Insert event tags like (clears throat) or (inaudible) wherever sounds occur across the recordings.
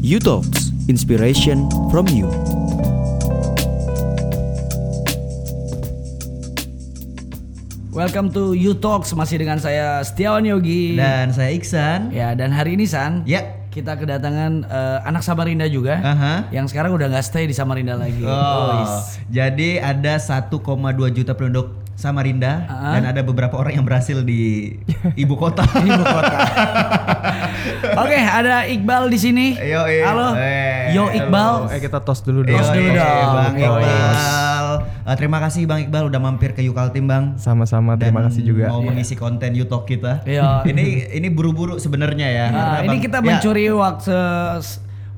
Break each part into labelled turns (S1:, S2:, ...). S1: You Talks, inspiration from you.
S2: Welcome to You Talks masih dengan saya Setiawan Yogi.
S3: Dan saya Iksan.
S2: ya dan hari ini San,
S3: Ya.
S2: kita kedatangan eh, anak Samarinda juga.
S3: Aha.
S2: Yang sekarang udah nggak stay di Samarinda lagi.
S3: Oh.
S2: Boys.
S3: Jadi ada 1,2 juta penduduk Samarinda
S2: Ah.
S3: dan ada beberapa orang yang berhasil di ibu kota.
S2: (laughs) Ibu kota. Oke, ada Iqbal di sini.
S3: Yo, eh.
S2: Halo.
S3: Eh,
S2: Yo Iqbal.
S3: halo.
S4: Eh kita tos dulu dong.
S2: Tos
S3: Yoi,
S2: dulu dong.
S3: Bang
S2: Yo,
S3: Iqbal. Eh, terima kasih Bang Iqbal udah mampir ke Yukaltim Bang.
S4: Sama-sama
S3: Dan
S4: terima kasih juga.
S3: Mau mengisi konten Yutok kita.
S2: Iya.
S3: (laughs) ini ini buru-buru sebenarnya ya. karena
S2: Nah, ini
S3: Bang-
S2: kita
S3: Ya.
S2: mencuri waktu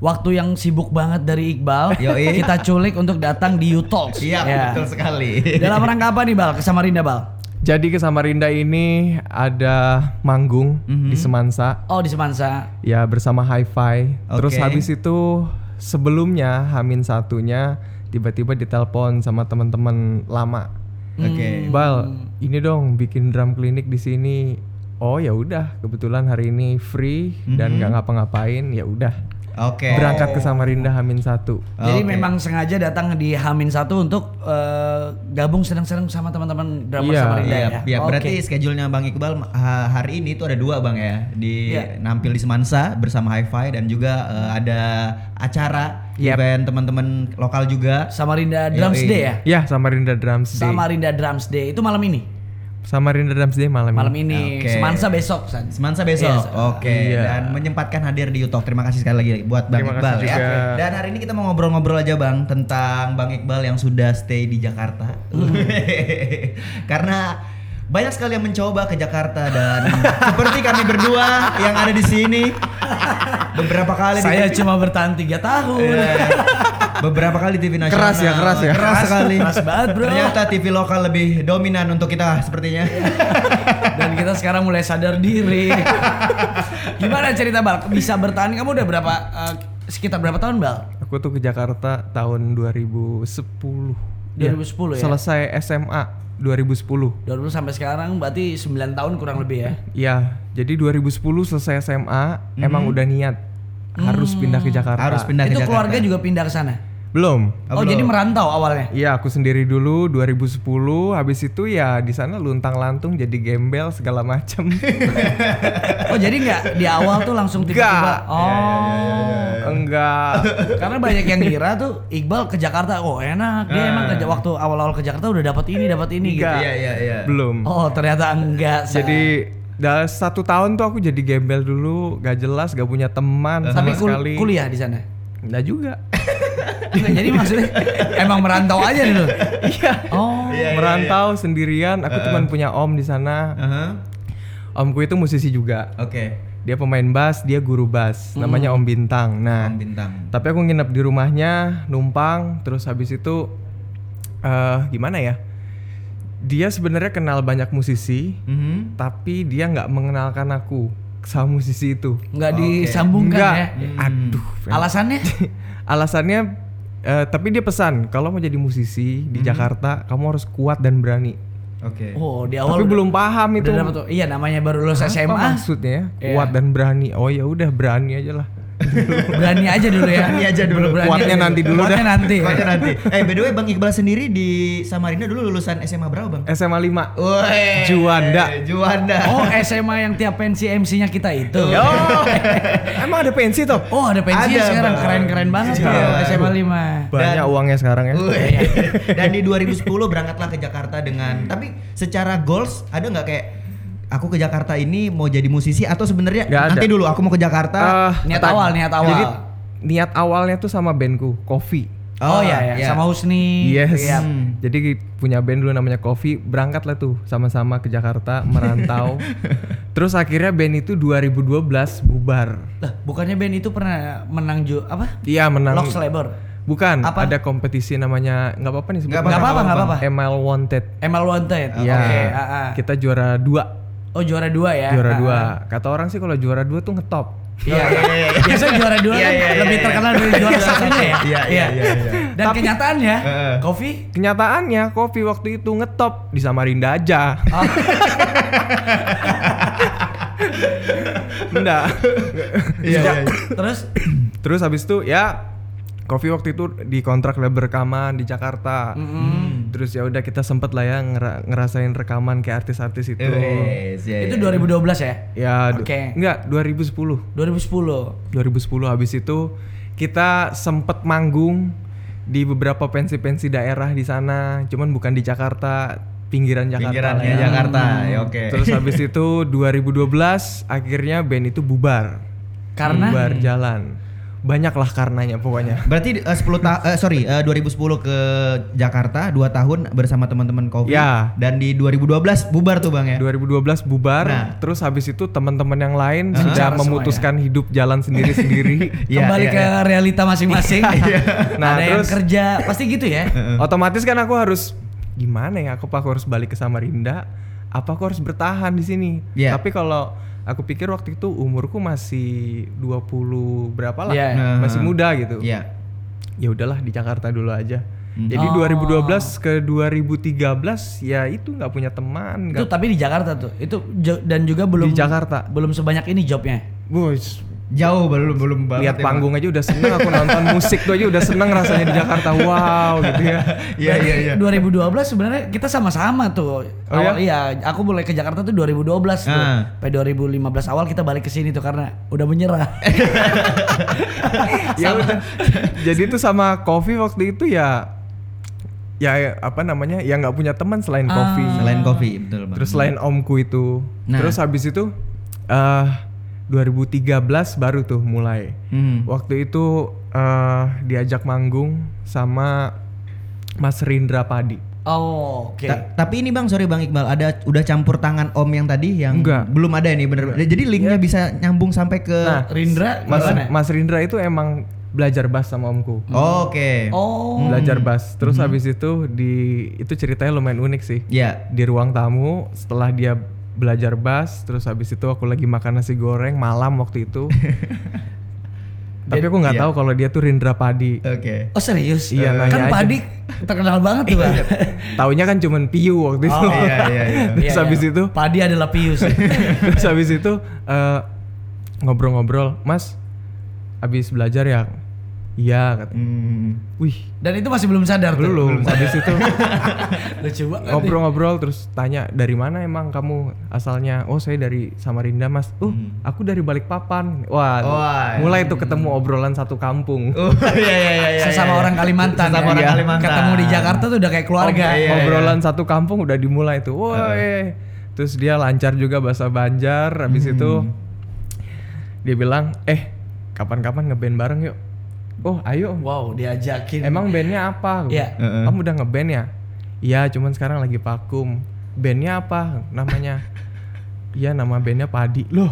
S2: waktu yang sibuk banget dari Iqbal.
S3: Yoi.
S2: Kita culik untuk datang di You Talks.
S3: Iya,
S2: Ya.
S3: betul sekali.
S2: Dalam rangka apa nih, Bal? Ke Samarinda, Bal?
S4: Jadi ke Samarinda ini ada manggung
S3: Mhm.
S4: di Semansa
S2: Oh, di Semansa.
S4: ya bersama Hi-Fi. Terus
S3: Oke.
S4: habis itu sebelumnya Hamin satunya tiba-tiba ditelepon sama teman-teman lama.
S2: Hmm.
S3: Oke.
S4: Bal, ini dong bikin drum klinik di sini. Oh ya udah, kebetulan hari ini free dan nggak ngapa-ngapain. Ya udah,
S3: Mhm. Oke.
S4: berangkat ke Samarinda Hamin satu.
S2: Jadi
S3: Oke.
S2: memang sengaja datang di Hamin satu untuk eh, gabung senang-senang sama teman-teman drama
S4: Iya,
S2: Samarinda
S3: Iya,
S2: ya.
S3: iya,
S2: Oke.
S3: berarti schedule-nya Bang Iqbal ha- hari ini tuh ada dua Bang ya di
S2: Iya.
S3: nampil di Semansa bersama Hi-Fi dan juga eh, ada acara
S4: Yep.
S3: event teman-teman lokal juga.
S2: Samarinda Drums
S3: Yoi.
S2: Day ya.
S4: Ya Samarinda Drums Day.
S2: Samarinda Drums Day itu malam ini.
S4: Samarinda Drums Day malam,
S2: Malam ini.
S4: ini.
S3: Oke.
S2: Semansa besok, San.
S3: Semansa besok.
S2: Yes.
S3: Oke, dan menyempatkan hadir di Yutok. Terima kasih sekali lagi buat Bang
S4: Terima
S3: Iqbal
S4: kasih
S3: ya.
S4: juga.
S3: Dan hari ini kita mau ngobrol-ngobrol aja Bang tentang Bang Iqbal yang sudah stay di Jakarta. (laughs) Karena banyak sekali yang mencoba ke Jakarta dan seperti kami berdua yang ada di sini beberapa kali di
S2: Saya cuma bertahan 3 tahun.
S3: Eh, beberapa kali TV nasional.
S4: Keras ya, keras ya.
S3: Keras sekali.
S2: Iya. keras banget, bro.
S3: Ternyata TV lokal lebih dominan untuk kita sepertinya.
S2: Dan kita sekarang mulai sadar diri. Gimana cerita Bal? Bisa bertahan kamu udah berapa eh, sekitar berapa tahun, Bal?
S4: Aku tuh ke Jakarta tahun 2010. Iya.
S2: 2010 ya?
S4: Selesai SMA 2010.
S2: 20 sampai sekarang berarti 9 tahun kurang lebih ya.
S4: Ya, jadi 2010 selesai SMA,
S2: Hmm.
S4: emang udah niat harus pindah ke Jakarta.
S3: Harus pindah Gitu,
S2: itu
S3: ke Jakarta.
S2: keluarga juga pindah ke sana.
S4: Belum.
S3: Oh,
S2: Oh, jadi merantau awalnya.
S4: Iya, aku sendiri dulu 2010, habis itu ya di sana luntang-lantung jadi gembel segala
S2: (laughs)
S4: macem
S2: Oh jadi nggak di awal tuh langsung tiba-tiba.
S4: Nggak. Iya,
S2: Oh.
S4: Enggak.
S2: Karena banyak yang ngira tuh Iqbal ke Jakarta, oh enak dia emang ke waktu awal-awal ke Jakarta udah dapat ini dapat ini gitu.
S4: Nah. Nggak.
S3: Iya iya iya.
S4: Belum.
S2: Oh ternyata enggak. Sa.
S4: Jadi dah satu tahun tuh aku jadi gembel dulu, gak jelas, gak punya teman
S2: tapi
S4: sama
S2: kul-
S4: sekali.
S2: kuliah di sana. (laughs)
S4: Nggak juga.
S2: Nggak, jadi maksudnya emang merantau aja dulu. Iya. Oh.
S4: merantau sendirian. Aku cuman punya om di sana.
S3: iya. Aha,
S4: Omku itu musisi juga.
S3: Oke.
S4: Dia pemain bass, dia guru bass.
S2: Hmm.
S4: Namanya Om Bintang. Nah,
S3: Bang Bintang.
S4: tapi aku nginep di rumahnya, numpang. Terus habis itu, eh gimana ya? Dia sebenarnya kenal banyak musisi,
S3: Mhm.
S4: tapi dia nggak mengenalkan aku sama musisi itu.
S2: Nggak disambungkan
S4: Nggak.
S2: ya.
S4: Aduh. (laughs)
S2: Alasannya?
S4: Alasannya, eh, tapi dia pesan kalau mau jadi musisi
S2: Hmm.
S4: di Jakarta, kamu harus kuat dan berani.
S3: Oke.
S2: Oh di awal
S4: Tapi belum
S2: udah
S4: paham itu.
S2: dapet tuh. Iya namanya baru lulus
S4: Apa
S2: SMA.
S4: maksudnya ya?
S2: Iya.
S4: kuat dan berani oh ya udah berani aja lah
S2: Berani aja dulu ya.
S3: Berani aja dulu.
S2: Berani
S4: Kuatnya
S2: aja
S4: nanti dulu
S2: Kuatnya
S4: dah.
S2: nanti. ya.
S3: Pokoknya nanti. Eh by the way Bang Iqbal sendiri di Samarinda dulu lulusan SMA berapa Bang?
S4: SMA 5
S3: Woi.
S4: Juanda.
S3: Juanda.
S2: Oh SMA yang tiap pensi MC-nya kita itu.
S4: emang ada pensi toh
S2: (laughs) Oh ada pensinya
S3: Ada,
S2: sekarang
S3: Bang.
S2: keren-keren banget
S3: Iya.
S2: tuh SMA 5.
S4: banyak
S3: Dan-
S4: uangnya sekarang ya
S3: Wih. (laughs) Dan di 2010 berangkatlah ke Jakarta dengan tapi secara goals ada nggak kayak aku ke Jakarta ini mau jadi musisi atau sebenarnya
S4: Nggak ada.
S3: nanti dulu aku mau ke Jakarta.
S4: Ah,
S2: Niat
S4: tadi-
S2: awal, niat awal.
S4: jadi niat awalnya tuh sama bandku Coffee
S2: Oh, iya ya, sama Husni.
S4: Yes.
S2: Iya.
S4: Jadi punya band dulu namanya Coffee, berangkatlah tuh sama-sama ke Jakarta
S2: (laughs)
S4: merantau. Terus akhirnya band itu 2012 bubar.
S2: Lah, bukannya band itu pernah menang ju apa?
S4: Iya menang.
S2: Lock Labor.
S4: Bukan,
S2: Apa?
S4: ada kompetisi namanya nggak apa-apa nih sebut
S2: Nggak apa-apa, nggak apa-apa.
S4: ML Wanted.
S2: ML Wanted.
S4: Iya.
S2: Oke, ah, ah.
S4: Kita juara dua.
S2: Oh juara dua ya.
S4: juara
S2: Ah,
S4: dua.
S2: ah.
S4: Kata orang sih kalau juara dua tuh ngetop.
S2: Iya. Biasanya juara dua
S3: Iya,
S2: kan
S3: iya, iya,
S2: lebih
S3: iya.
S2: terkenal dari juara satunya ya.
S3: Iya, iya, iya, iya.
S2: Dan kenyataannya, Kofi
S4: Kenyataannya kopi waktu itu ngetop di Samarinda (laughs) aja. Enggak.
S3: Iya.
S2: terus
S4: Terus habis itu ya Kofi waktu itu dikontrak label rekaman di Jakarta. Terus ya udah kita sempet lah ya ngera- ngerasain rekaman kayak artis-artis itu.
S3: Yes, ya,
S2: Iya, Itu
S3: ya.
S2: 2012 ya?
S4: Ya, du-
S2: Oke.
S4: enggak 2010.
S2: 2010.
S4: 2010 habis itu kita sempet manggung di beberapa pensi-pensi daerah di sana, cuman bukan di Jakarta, pinggiran Jakarta.
S3: pinggirannya
S4: lah ya.
S3: Jakarta.
S2: Hmm.
S3: Ya, Oke.
S4: Terus habis itu 2012 akhirnya band itu bubar.
S2: Karena?
S4: bubar jalan. Banyaklah karenanya pokoknya.
S3: Berarti eh, 10 ta- eh, sorry eh, 2010 ke Jakarta 2 tahun bersama teman-teman Kofi
S4: Ya.
S3: dan di 2012 bubar tuh Bang ya.
S2: Iya.
S4: 2012 bubar,
S3: Nah.
S4: terus habis itu teman-teman yang lain
S2: Nah, Secara semua
S4: sudah
S2: ya.
S4: memutuskan hidup jalan
S2: (laughs)
S3: (laughs)
S4: sendiri-sendiri.
S3: Iya,
S2: Kembali
S3: iya,
S2: ke
S3: iya.
S2: realita masing-masing.
S4: Nah,
S2: Ada yang
S4: terus-
S2: kerja, pasti gitu ya.
S4: otomatis kan aku harus gimana ya aku apa aku harus balik ke Samarinda apa aku harus bertahan di sini
S3: Iya.
S4: tapi kalau aku pikir waktu itu umurku masih 20 berapa lah
S2: Iya.
S3: Nah.
S4: masih muda gitu
S3: Iya.
S4: ya udahlah di Jakarta dulu aja
S3: Hmm.
S4: jadi
S2: Oh.
S4: 2012 ke 2013 ya itu nggak punya teman
S2: Itu
S4: nggak
S2: tapi di Jakarta tuh. Itu jo- dan juga belum
S4: di Jakarta
S2: belum sebanyak ini jobnya.
S4: Boys,
S3: Jauh belum belum banget.
S4: lihat
S3: ya, Bang.
S4: panggung aja udah seneng aku nonton (laughs) musik tuh aja udah seneng rasanya di Jakarta wow gitu ya
S3: Iya iya iya.
S2: 2012 sebenarnya kita sama-sama tuh.
S4: Oh
S2: awal iya, aku mulai ke Jakarta tuh 2012 tuh.
S3: Ah.
S2: Sampai 2015 awal kita balik ke sini tuh karena udah menyerah.
S4: Eh. ya udah. jadi itu sama Kofi waktu itu ya ya apa namanya ya nggak punya teman selain Kofi
S3: Selain Kofi betul Bang.
S4: terus selain omku itu
S3: Nah.
S4: terus habis itu eh 2013 baru tuh mulai
S3: Hmm.
S4: waktu itu eh diajak manggung sama Mas Rindra Padi
S2: (laughs) oh, oke.
S3: Ta- tapi ini Bang, sorry Bang Iqbal, ada udah campur tangan Om yang tadi yang
S4: Enggak.
S3: belum ada ini bener. Jadi linknya bisa nyambung sampai ke
S4: Nah,
S2: Rindra
S4: Mas
S3: eh.
S2: gimana?
S4: Mas Rindra itu emang belajar bass sama omku
S3: Oh, Oke.
S4: ya.
S2: Oh,
S4: belajar bass terus
S3: Hmm.
S4: habis itu di itu ceritanya lumayan unik sih
S3: Ya.
S4: di ruang tamu setelah dia belajar bass terus habis itu aku lagi makan nasi goreng malam
S3: (laughs)
S4: waktu itu tapi aku nggak
S3: Iya.
S4: tahu kalau dia tuh Rindra Padi
S3: Oke.
S2: oh serius?
S4: Iya,
S2: kan
S4: nanya aja. Iya.
S2: Padi terkenal banget tuh, (laughs) Bang.
S4: taunya kan cuman Piu waktu itu
S3: (laughs) Iya iya iya.
S4: terus
S2: Iya,
S4: habis
S2: iya.
S4: itu
S2: Padi adalah
S4: (laughs)
S2: Pius.
S4: terus habis itu eh, ngobrol-ngobrol Mas habis belajar ya iya kata
S3: Hmm.
S4: wih
S2: Dan itu masih belum sadar tuh.
S4: belum habis itu
S2: Lucu banget.
S4: ngobrol-ngobrol terus tanya dari mana emang kamu asalnya oh saya dari Samarinda mas uh aku dari Balikpapan wah
S3: Wah.
S4: mulai tuh ketemu obrolan satu kampung
S3: Oh (laughs) iya iya iya. iya,
S2: Sesama
S3: iya.
S2: orang Kalimantan. Oh, ya.
S3: Sesama orang
S2: Iya.
S3: Kalimantan.
S2: Ketemu di Jakarta tuh udah kayak keluarga.
S3: Iya, iya.
S4: obrolan satu kampung udah dimulai tuh woi terus dia lancar juga bahasa Banjar habis
S3: Hmm.
S4: itu dia bilang eh kapan-kapan ngeband bareng yuk oh ayo
S2: Wow, diajakin.
S4: emang bandnya apa
S2: Iya.
S3: Heeh.
S4: kamu udah ngeband ya iya cuman sekarang lagi vakum bandnya apa namanya Iya nama bandnya Padi loh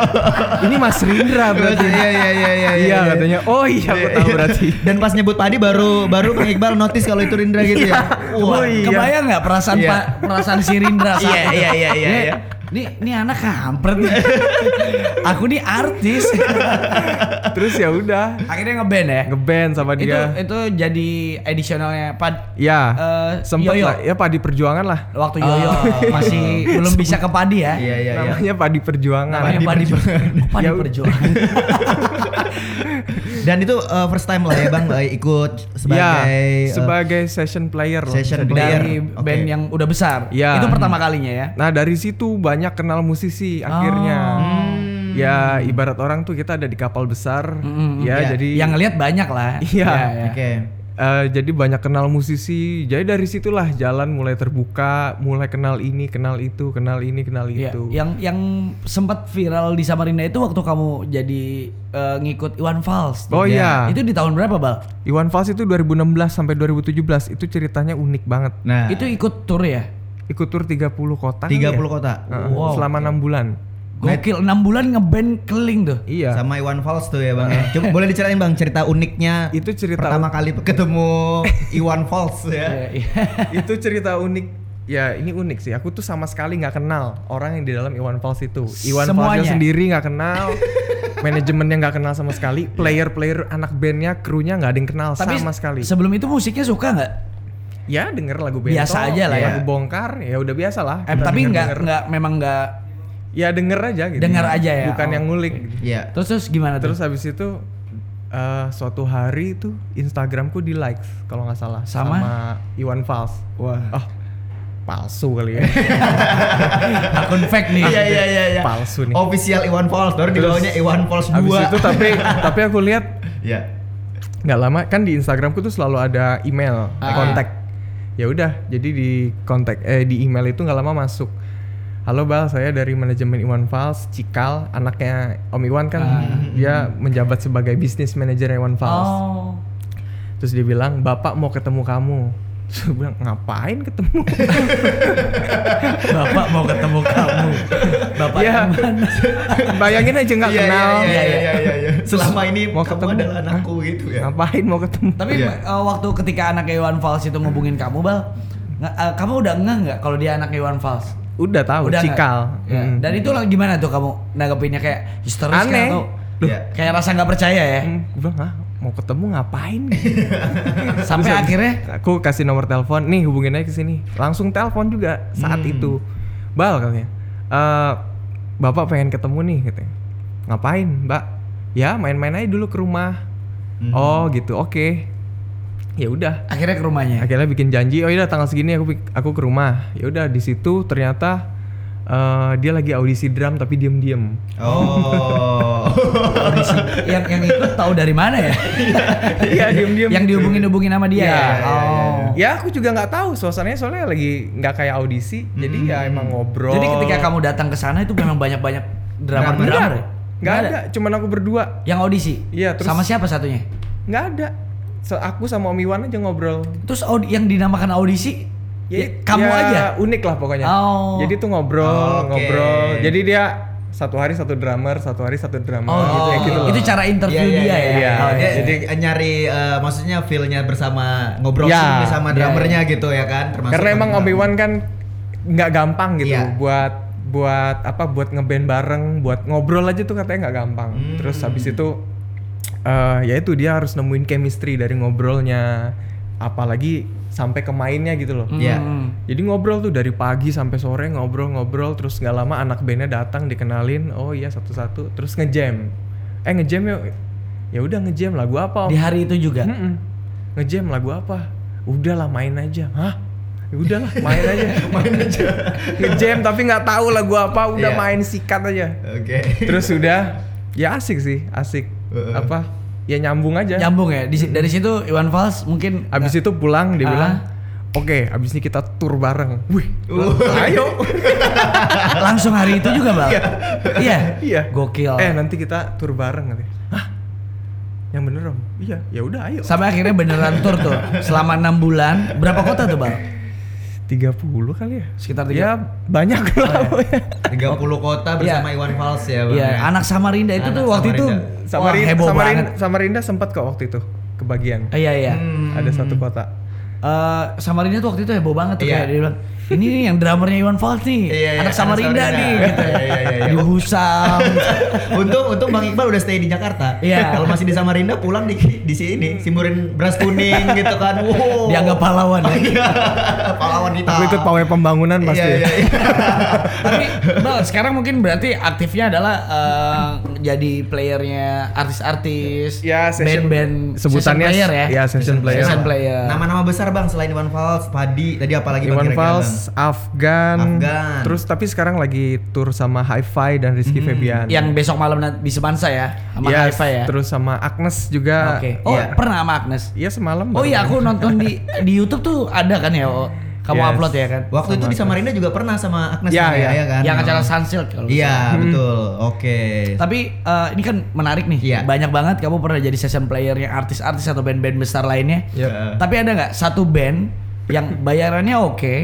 S4: (laughs) ini Mas Rindra berarti
S3: (laughs) Iya iya iya iya.
S4: iya katanya oh iya aku
S3: (laughs)
S4: tahu berarti
S3: Dan pas nyebut padi baru baru Bang Iqbal notice kalau itu Rindra gitu ya.
S2: Wah,
S3: Wah.
S2: kebayang nggak perasaan
S3: Iya.
S2: Pak perasaan si (laughs) Rindra saat
S3: Iya,
S2: itu?
S3: iya, iya, iya,
S2: Nih,
S3: iya.
S2: Nih, nih anak kampret nih. (laughs) Aku nih artis.
S4: terus ya udah
S2: (laughs) Akhirnya ngeband ya.
S4: ngeband sama
S2: Itu
S4: dia
S2: itu jadi additionalnya Pad
S4: ya
S2: eh,
S4: sempet
S2: Yoyo.
S4: lah ya Padi Perjuangan lah
S2: waktu Yoyo (laughs) masih belum bisa ke Padi ya.
S3: Iya iya iya.
S4: namanya Padi Perjuangan
S2: Namanya Padi (laughs) Perjuangan. Oh, Padi
S4: Ya udah.
S2: Perjuangan.
S3: Dan itu uh, first time lah ya Bang uh, ikut sebagai
S4: ya,
S2: eh,
S3: uh,
S4: sebagai session player lah.
S3: session player
S2: dari
S3: Oke.
S2: band yang udah besar.
S4: Iya.
S2: Itu pertama kalinya ya.
S4: Nah dari situ banyak kenal musisi akhirnya.
S2: Ah.
S4: Ya ibarat orang tuh kita ada di kapal besar. ya
S3: Iya.
S4: jadi
S2: Yang ngelihat banyak lah.
S4: Iya.
S3: Oke.
S4: eh, jadi banyak kenal musisi. Jadi dari situlah jalan mulai terbuka, mulai kenal ini, kenal itu, kenal ini, kenal
S2: Iya.
S4: itu.
S2: Yang yang sempat viral di Samarinda itu waktu kamu jadi eh, ngikut Iwan Fals. tuh.
S4: Oh iya. Nah.
S2: Itu di tahun berapa, Bal?
S4: Iwan Fals itu 2016 sampai 2017 itu ceritanya unik banget.
S3: Nah,
S2: Itu ikut tur ya?
S4: Ikut tur 30 kota.
S3: 30
S4: kali ya?
S3: kota.
S4: Heeh,
S2: Wow.
S4: Selama enam bulan.
S2: Gokil, 6 bulan ngeband keling tuh.
S4: Iya.
S3: Sama Iwan Fals tuh ya Bang ya. Coba boleh diceritain Bang cerita uniknya
S4: Itu cerita
S3: pertama kali
S4: (laughs)
S3: ketemu Iwan Fals
S2: Iya,
S3: ya.
S2: iya.
S4: itu cerita unik. Ya ini unik sih. Aku tuh sama sekali nggak kenal orang yang di dalam Iwan Fals itu. Iwan
S2: Semuanya.
S4: Falsnya sendiri nggak
S2: (laughs)
S4: kenal. Manajemennya nggak kenal sama sekali. Player-player anak bandnya, krunya nggak ada yang kenal
S2: Iya. Tapi
S4: sama sekali.
S2: sebelum itu musiknya suka nggak?
S4: ya denger lagu bentol
S2: Biasa aja lah ya.
S4: lagu bongkar ya udah biasa lah
S2: Eh,
S4: Kita
S2: tapi
S4: denger-
S2: nggak
S4: denger.
S2: nggak memang nggak.
S4: ya denger aja gitu
S2: Denger aja ya.
S4: bukan
S2: Oh,
S4: yang ngulik gitu.
S3: Iya.
S2: Terus terus gimana
S4: terus
S2: terus?
S4: habis itu eh, suatu hari itu Instagramku di likes kalau nggak salah
S2: Sama?
S4: Iwan Fals.
S2: Wah.
S4: Oh, palsu kali
S2: (laughs)
S4: ya.
S2: Akun
S4: Ah,
S2: fake nih.
S3: Iya iya iya iya.
S4: Palsu nih.
S3: Official Iwan Fals, baru di
S4: Terus,
S3: bawahnya Iwan Fals 2.
S4: Habis itu tapi tapi aku lihat
S3: ya.
S4: nggak lama kan di Instagramku tuh selalu ada email
S2: Ah.
S4: kontak ya udah jadi di kontak eh di email itu nggak lama masuk halo bal saya dari manajemen Iwan Fals Cikal anaknya Om Iwan kan dia menjabat sebagai bisnis manajer Iwan Fals
S2: Oh.
S4: terus dia bilang bapak mau ketemu kamu Terus aku bilang ngapain ketemu (laughs)
S2: Bapak mau ketemu kamu. Bapak
S4: ya bayangin aja nggak
S3: Iya, iya,
S4: kenal
S3: Iya iya iya iya, iya. Selama ini
S4: Mau
S3: kamu
S4: ketemu?
S3: adalah anakku gitu ya.
S4: ngapain mau ketemu
S2: Tapi
S3: Iya.
S2: eh, waktu ketika anak Iwan Fals itu ngubungin kamu, Bal, nge- eh, kamu udah ngeh nggak kalau dia anak Iwan Fals?
S4: udah tahu
S2: udah nggak?
S4: Cikal
S2: Ya.
S4: Mm.
S2: Dan itu lah gimana tuh kamu nanggepinnya kayak histeris kah
S4: Aneh.
S2: atau
S3: Loh. Iya.
S2: kayak rasa nggak percaya
S4: (laughs)
S2: ya?
S4: Hmm, gue bilang ah mau ketemu ngapain
S2: Sampai
S4: Terus
S2: akhirnya
S4: aku kasih nomor telepon nih hubungin aja ke sini langsung telepon juga saat
S2: Hmm.
S4: itu bal katanya "Eh, bapak pengen ketemu nih katanya ngapain mbak ya main-main aja dulu ke rumah
S2: Hmm.
S4: oh gitu oke ya udah
S2: akhirnya ke rumahnya.
S4: akhirnya bikin janji oh iya tanggal segini aku pik- aku ke rumah ya udah di situ ternyata eh, dia lagi audisi drum tapi
S2: (laughs)
S4: diem-diem
S3: Oh.
S2: yang yang ikut tahu dari mana
S4: (laughs)
S2: ya?
S4: iya diem-diem
S2: yang dihubungin-hubungin sama dia.
S4: Iya,
S2: ya?
S4: iya,
S2: gitu. oh.
S4: ya aku juga nggak tahu suasananya soalnya lagi nggak kayak audisi jadi ya emang
S2: Hmm.
S4: ngobrol
S2: Jadi ketika kamu datang ke sana itu memang banyak-banyak drama
S4: nggak
S2: drama.
S4: ada nggak ada. cuman aku berdua
S2: Yang audisi.
S4: Iya, terus-
S2: Sama siapa satunya?
S4: nggak ada So, aku sama Om Iwan aja ngobrol
S2: Terus aud- yang dinamakan audisi ya,
S4: Jadi,
S2: kamu
S4: ya,
S2: aja.
S4: unik lah pokoknya
S2: Oh.
S4: jadi tuh ngobrol
S3: Oke.
S4: ngobrol jadi dia satu hari satu drummer satu hari satu drummer
S2: Oh, gitu.
S4: Kayak gitu loh.
S2: Itu cara interview
S3: ya, Iya,
S2: dia ya.
S4: iya.
S2: Oh,
S3: Dia
S2: iya.
S3: Jadi nyari eh, maksudnya feel-nya bersama ngobrol
S4: Ya.
S3: sendiri sama drummernya gitu ya kan termasuk
S4: karena emang Om Iwan kan nggak gampang gitu
S3: Iya.
S4: buat buat apa buat ngeband bareng buat ngobrol aja tuh katanya nggak gampang
S2: Hmm.
S4: terus habis itu eh ya itu dia harus nemuin chemistry dari ngobrolnya apalagi sampai ke mainnya gitu loh
S3: Iya.
S2: Hmm.
S4: jadi ngobrol tuh dari pagi sampai sore ngobrol-ngobrol terus nggak lama anak bandnya datang dikenalin oh iya satu-satu terus ngejam eh ngejam yuk ya udah ngejam lagu apa Om?
S2: Di hari itu juga.
S4: Mm-mm. Ngejam lagu apa? Udahlah main aja. Hah? Ya udahlah
S2: (laughs)
S4: main aja. main aja. Ngejam tapi nggak tahu lagu apa, udah
S3: Iya.
S4: main sikat aja.
S3: Oke. (laughs)
S4: Terus udah ya asik sih, asik.
S3: Heeh.
S4: Apa? Ya nyambung aja.
S2: Nyambung ya. Di- dari situ Iwan Fals mungkin
S4: Abis itu pulang dia
S2: Ah.
S4: bilang, "Oke, abis ini kita tur bareng." Wih.
S2: (laughs)
S4: Ayo.
S2: langsung hari itu juga, Bang. Iya.
S4: Iya.
S2: Gokil.
S4: Eh, nanti kita tur bareng katanya. Hah? Yang bener, Om. Iya, ya udah ayo.
S2: Sampai akhirnya beneran tur tuh selama enam bulan. Berapa kota tuh, Bang?
S4: 30 kali ya?
S2: Sekitar tiga.
S4: Ya banyak
S2: Oh,
S4: lah. (laughs) pokoknya.
S3: 30 kota bersama Iwan Fals ya, Bang.
S2: Iya, anak Samarinda itu
S3: Anak
S2: tuh waktu itu
S3: Samarinda.
S2: wah,
S4: Samarinda,
S2: heboh
S4: Samarinda,
S2: banget.
S4: Samarinda sempat kok waktu itu kebagian.
S2: Ah, Iya iya.
S3: Hmm.
S4: Ada satu kota.
S2: Eh, Samarinda tuh waktu itu heboh banget tuh
S3: Iya.
S2: kayak dia bilang, ini nih yang drummernya Iwan Fals nih,
S3: Iya, iya,
S2: anak
S3: anak
S2: Samarinda
S3: Samarinda."
S2: nih, gitu.
S3: Iya, iya, iya, iya. (laughs)
S2: Dihusam.
S3: Untung untung Bang Iqbal udah stay di Jakarta.
S2: Iya.
S4: Ya.
S3: (laughs) Kalau masih di Samarinda pulang di di sini simurin beras kuning gitu
S4: (laughs)
S3: kan. Wow.
S2: Dianggap pahlawan ya.
S3: (laughs) Iya. Pahlawan kita.
S4: Aku ikut pawai pembangunan ya.
S3: Ah.
S4: pasti.
S3: Iya, iya,
S4: (laughs)
S3: iya.
S2: Tapi Bal, sekarang mungkin berarti aktifnya adalah eh, jadi playernya artis-artis,
S4: Ya, session-
S2: band-band,
S4: sebutannya
S2: session player ya.
S4: ya, session player.
S2: Session player.
S3: Nama-nama besar Bang selain Iwan Fals, Padi, tadi apa lagi Bang
S4: Iwan
S3: kira-kira,
S4: Fals, Afgan,
S3: Afgan.
S4: terus tapi sekarang lagi tur sama Hi-Fi dan Rizky Febian.
S2: yang besok malam nanti di Semansa ya, Hmm. Iya, sama
S4: Yes,
S2: Haifa ya.
S4: Terus sama Agnes juga.
S2: Oke. Oh,
S3: Iya.
S2: pernah sama Agnes.
S4: Iya semalam.
S2: Oh
S4: baru
S2: iya,
S4: main.
S2: aku nonton di di YouTube tuh ada kan ya, oh. kamu
S4: Yes.
S2: upload ya kan?
S3: Bang? Waktu itu di Samarinda juga pernah sama Agnes
S4: Iya,
S2: Ya,
S3: sama
S4: iya.
S3: Yaya kan.
S2: Yang acara Sunsilk kalau nggak
S3: Iya,
S2: salah.
S3: betul. Oke.
S2: Tapi eh, ini kan menarik nih,
S3: Iya.
S2: banyak banget kamu pernah jadi session player yang artis-artis atau band-band besar lainnya.
S4: Yep.
S2: Tapi ada nggak satu band yang bayarannya oke,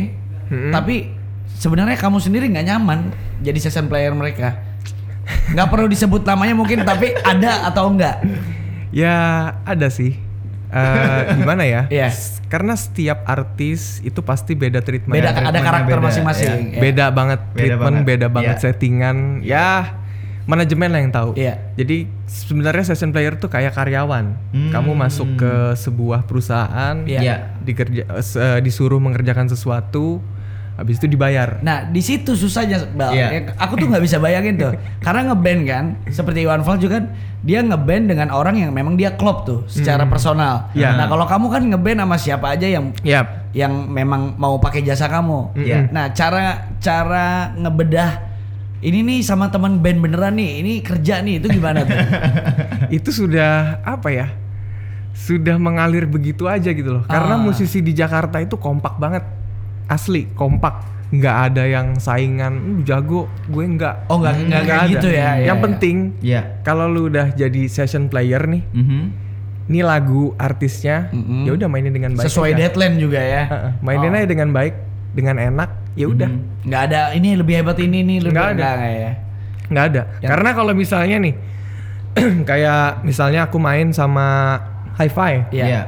S2: tapi sebenarnya kamu sendiri nggak nyaman jadi session player mereka? Nggak perlu disebut namanya mungkin, tapi ada atau enggak?
S4: Ya ada sih.
S2: (laughs)
S4: Eh, gimana ya?
S2: Iya.
S4: S- Karena setiap artis itu pasti beda treatment.
S2: Beda, kan? ada
S3: treatmentnya
S2: karakter
S3: beda,
S2: masing-masing. ya.
S4: Iya, beda banget
S3: Beda
S4: treatment,
S3: banget.
S4: beda banget
S3: Iya.
S4: settingan. Ya, manajemen lah yang tahu.
S2: Iya.
S4: Jadi sebenarnya session player tuh kayak karyawan. Kamu masuk ke sebuah
S2: Hmm.
S4: perusahaan,
S2: Iya.
S4: dikerja, eh, se- disuruh mengerjakan sesuatu. habis itu dibayar
S2: Nah di situ susahnya, Bal.
S3: Iya.
S2: Ya, Aku tuh nggak bisa bayangin tuh, karena ngeband kan, seperti Iwan Fals juga kan, dia ngeband dengan orang yang memang dia klop tuh secara personal.
S4: Iya.
S2: Nah kalau kamu kan ngeband sama siapa aja yang
S4: Yap.
S2: yang memang mau pakai jasa kamu.
S4: Mm-mm.
S2: Ya. Nah cara cara ngebedah ini nih sama teman band beneran nih, ini kerja nih itu gimana
S3: (laughs)
S2: tuh?
S4: (laughs) itu sudah apa ya sudah mengalir begitu aja gitu loh karena
S2: Ah.
S4: musisi di Jakarta itu kompak banget asli kompak nggak ada yang saingan lu jago gue nggak
S2: Oh, nggak- nggak kayak gitu ya, ya,
S4: yang
S2: ya.
S4: penting
S3: Iya.
S4: kalau lu udah jadi session player nih
S3: Mhm.
S4: ini lagu artisnya
S2: Mm-mm.
S4: ya udah mainin dengan baik
S2: Sesuai
S4: aja.
S2: deadline juga ya.
S4: Heeh, mainin
S2: Oh.
S4: aja dengan baik dengan enak ya udah
S3: Mhm.
S2: nggak ada ini lebih hebat ini ini lebih
S4: Nggak ada.
S2: nggak, nggak ya.
S4: nggak ada karena kalau misalnya nih (clears throat) kayak misalnya aku main sama hi-fi
S2: Iya.
S3: Iya.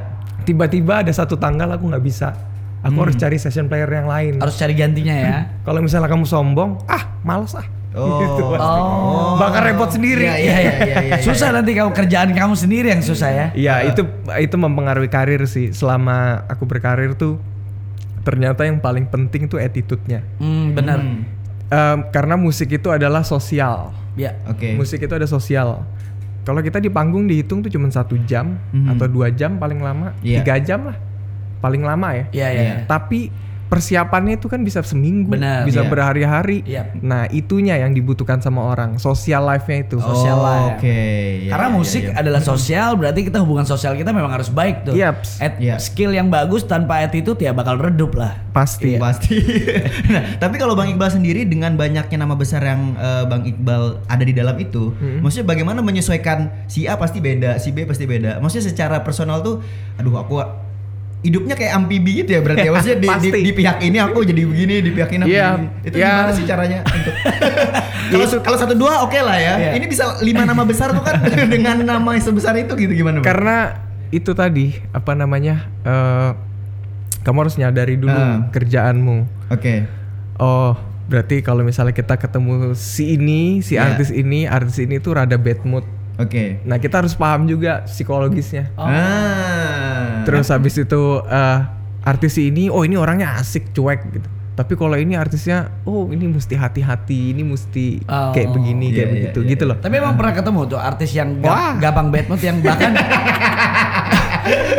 S4: tiba-tiba ada satu tanggal aku nggak bisa aku harus
S3: Hmm.
S4: cari session player yang lain
S2: Harus cari gantinya ya.
S4: kalau misalnya kamu sombong ah males ah
S3: Oh.
S4: Gitu pasti.
S2: Oh.
S4: bakal repot
S3: (laughs)
S4: sendiri
S3: Iya,
S4: iya
S3: iya, iya, iya, iya.
S2: Susah nanti kamu kerjaan kamu sendiri yang susah ya.
S4: Iya,
S3: Ah.
S4: itu itu mempengaruhi karir sih selama aku berkarir tuh ternyata yang paling penting tuh attitude-nya
S2: Hmm, benar.
S3: Hmm.
S4: Em, karena musik itu adalah sosial
S2: Ya.
S3: Oke.
S4: musik itu ada sosial kalau kita di panggung dihitung tuh cuma satu jam
S3: Mhm.
S4: atau dua jam paling lama
S3: Iya.
S4: tiga jam lah paling lama ya
S2: Iya, iya.
S3: Iya.
S4: tapi persiapannya itu kan bisa seminggu,
S2: Benar.
S4: bisa
S3: Iya.
S4: berhari-hari.
S2: Iya.
S4: Nah, itunya yang dibutuhkan sama orang, social life-nya itu.
S2: Oh. sosial lah ya.
S3: Oke. iya,
S2: Karena
S3: iya,
S2: musik
S3: iya.
S2: adalah sosial, berarti kita hubungan sosial kita memang harus baik tuh.
S4: Yaps.
S2: At-
S3: Iya.
S2: Skill yang bagus tanpa attitude ya bakal redup lah.
S4: Pasti. ya.
S3: Pasti. Iya. (laughs) nah, tapi kalau Bang Iqbal sendiri dengan banyaknya nama besar yang eh, Bang Iqbal ada di dalam itu,
S4: Hmm.
S3: maksudnya bagaimana menyesuaikan si A pasti beda, si B pasti beda. Maksudnya secara personal tuh, aduh aku hidupnya kayak amfibi gitu ya
S4: (laughs)
S3: berarti ya. Maksudnya di, di,
S4: Pasti.
S3: di pihak ini aku jadi begini, di pihak ini aku
S4: Iya,
S3: jadi begini. Itu
S4: iya.
S3: gimana sih caranya?
S4: (laughs)
S3: untuk- Kalau kalau satu dua oke lah ya.
S2: Iya.
S3: Ini bisa lima nama besar tuh kan (laughs) dengan nama yang sebesar itu gitu gimana? Bang?
S4: Karena itu tadi apa namanya? eh, kamu harus nyadari dulu
S3: Ah.
S4: kerjaanmu.
S3: Oke.
S4: Oh, berarti kalau misalnya kita ketemu si ini, si
S3: Iya.
S4: artis ini, artis ini tuh rada bad mood.
S3: Oke.
S4: Nah, kita harus paham juga psikologisnya.
S3: Ah.
S4: Oh.
S3: (laughs)
S4: Terus habis itu eh, artis ini, oh ini orangnya asik, cuek gitu. Tapi kalau ini artisnya, oh ini mesti hati-hati, ini mesti
S2: Oh.
S4: kayak begini,
S3: Iya,
S4: kayak
S3: iya,
S4: begitu,
S3: iya,
S4: gitu loh.
S2: Tapi emang pernah ketemu tuh artis yang
S4: Wah.
S2: ga- gampang bad mood yang
S4: (laughs)
S2: bahkan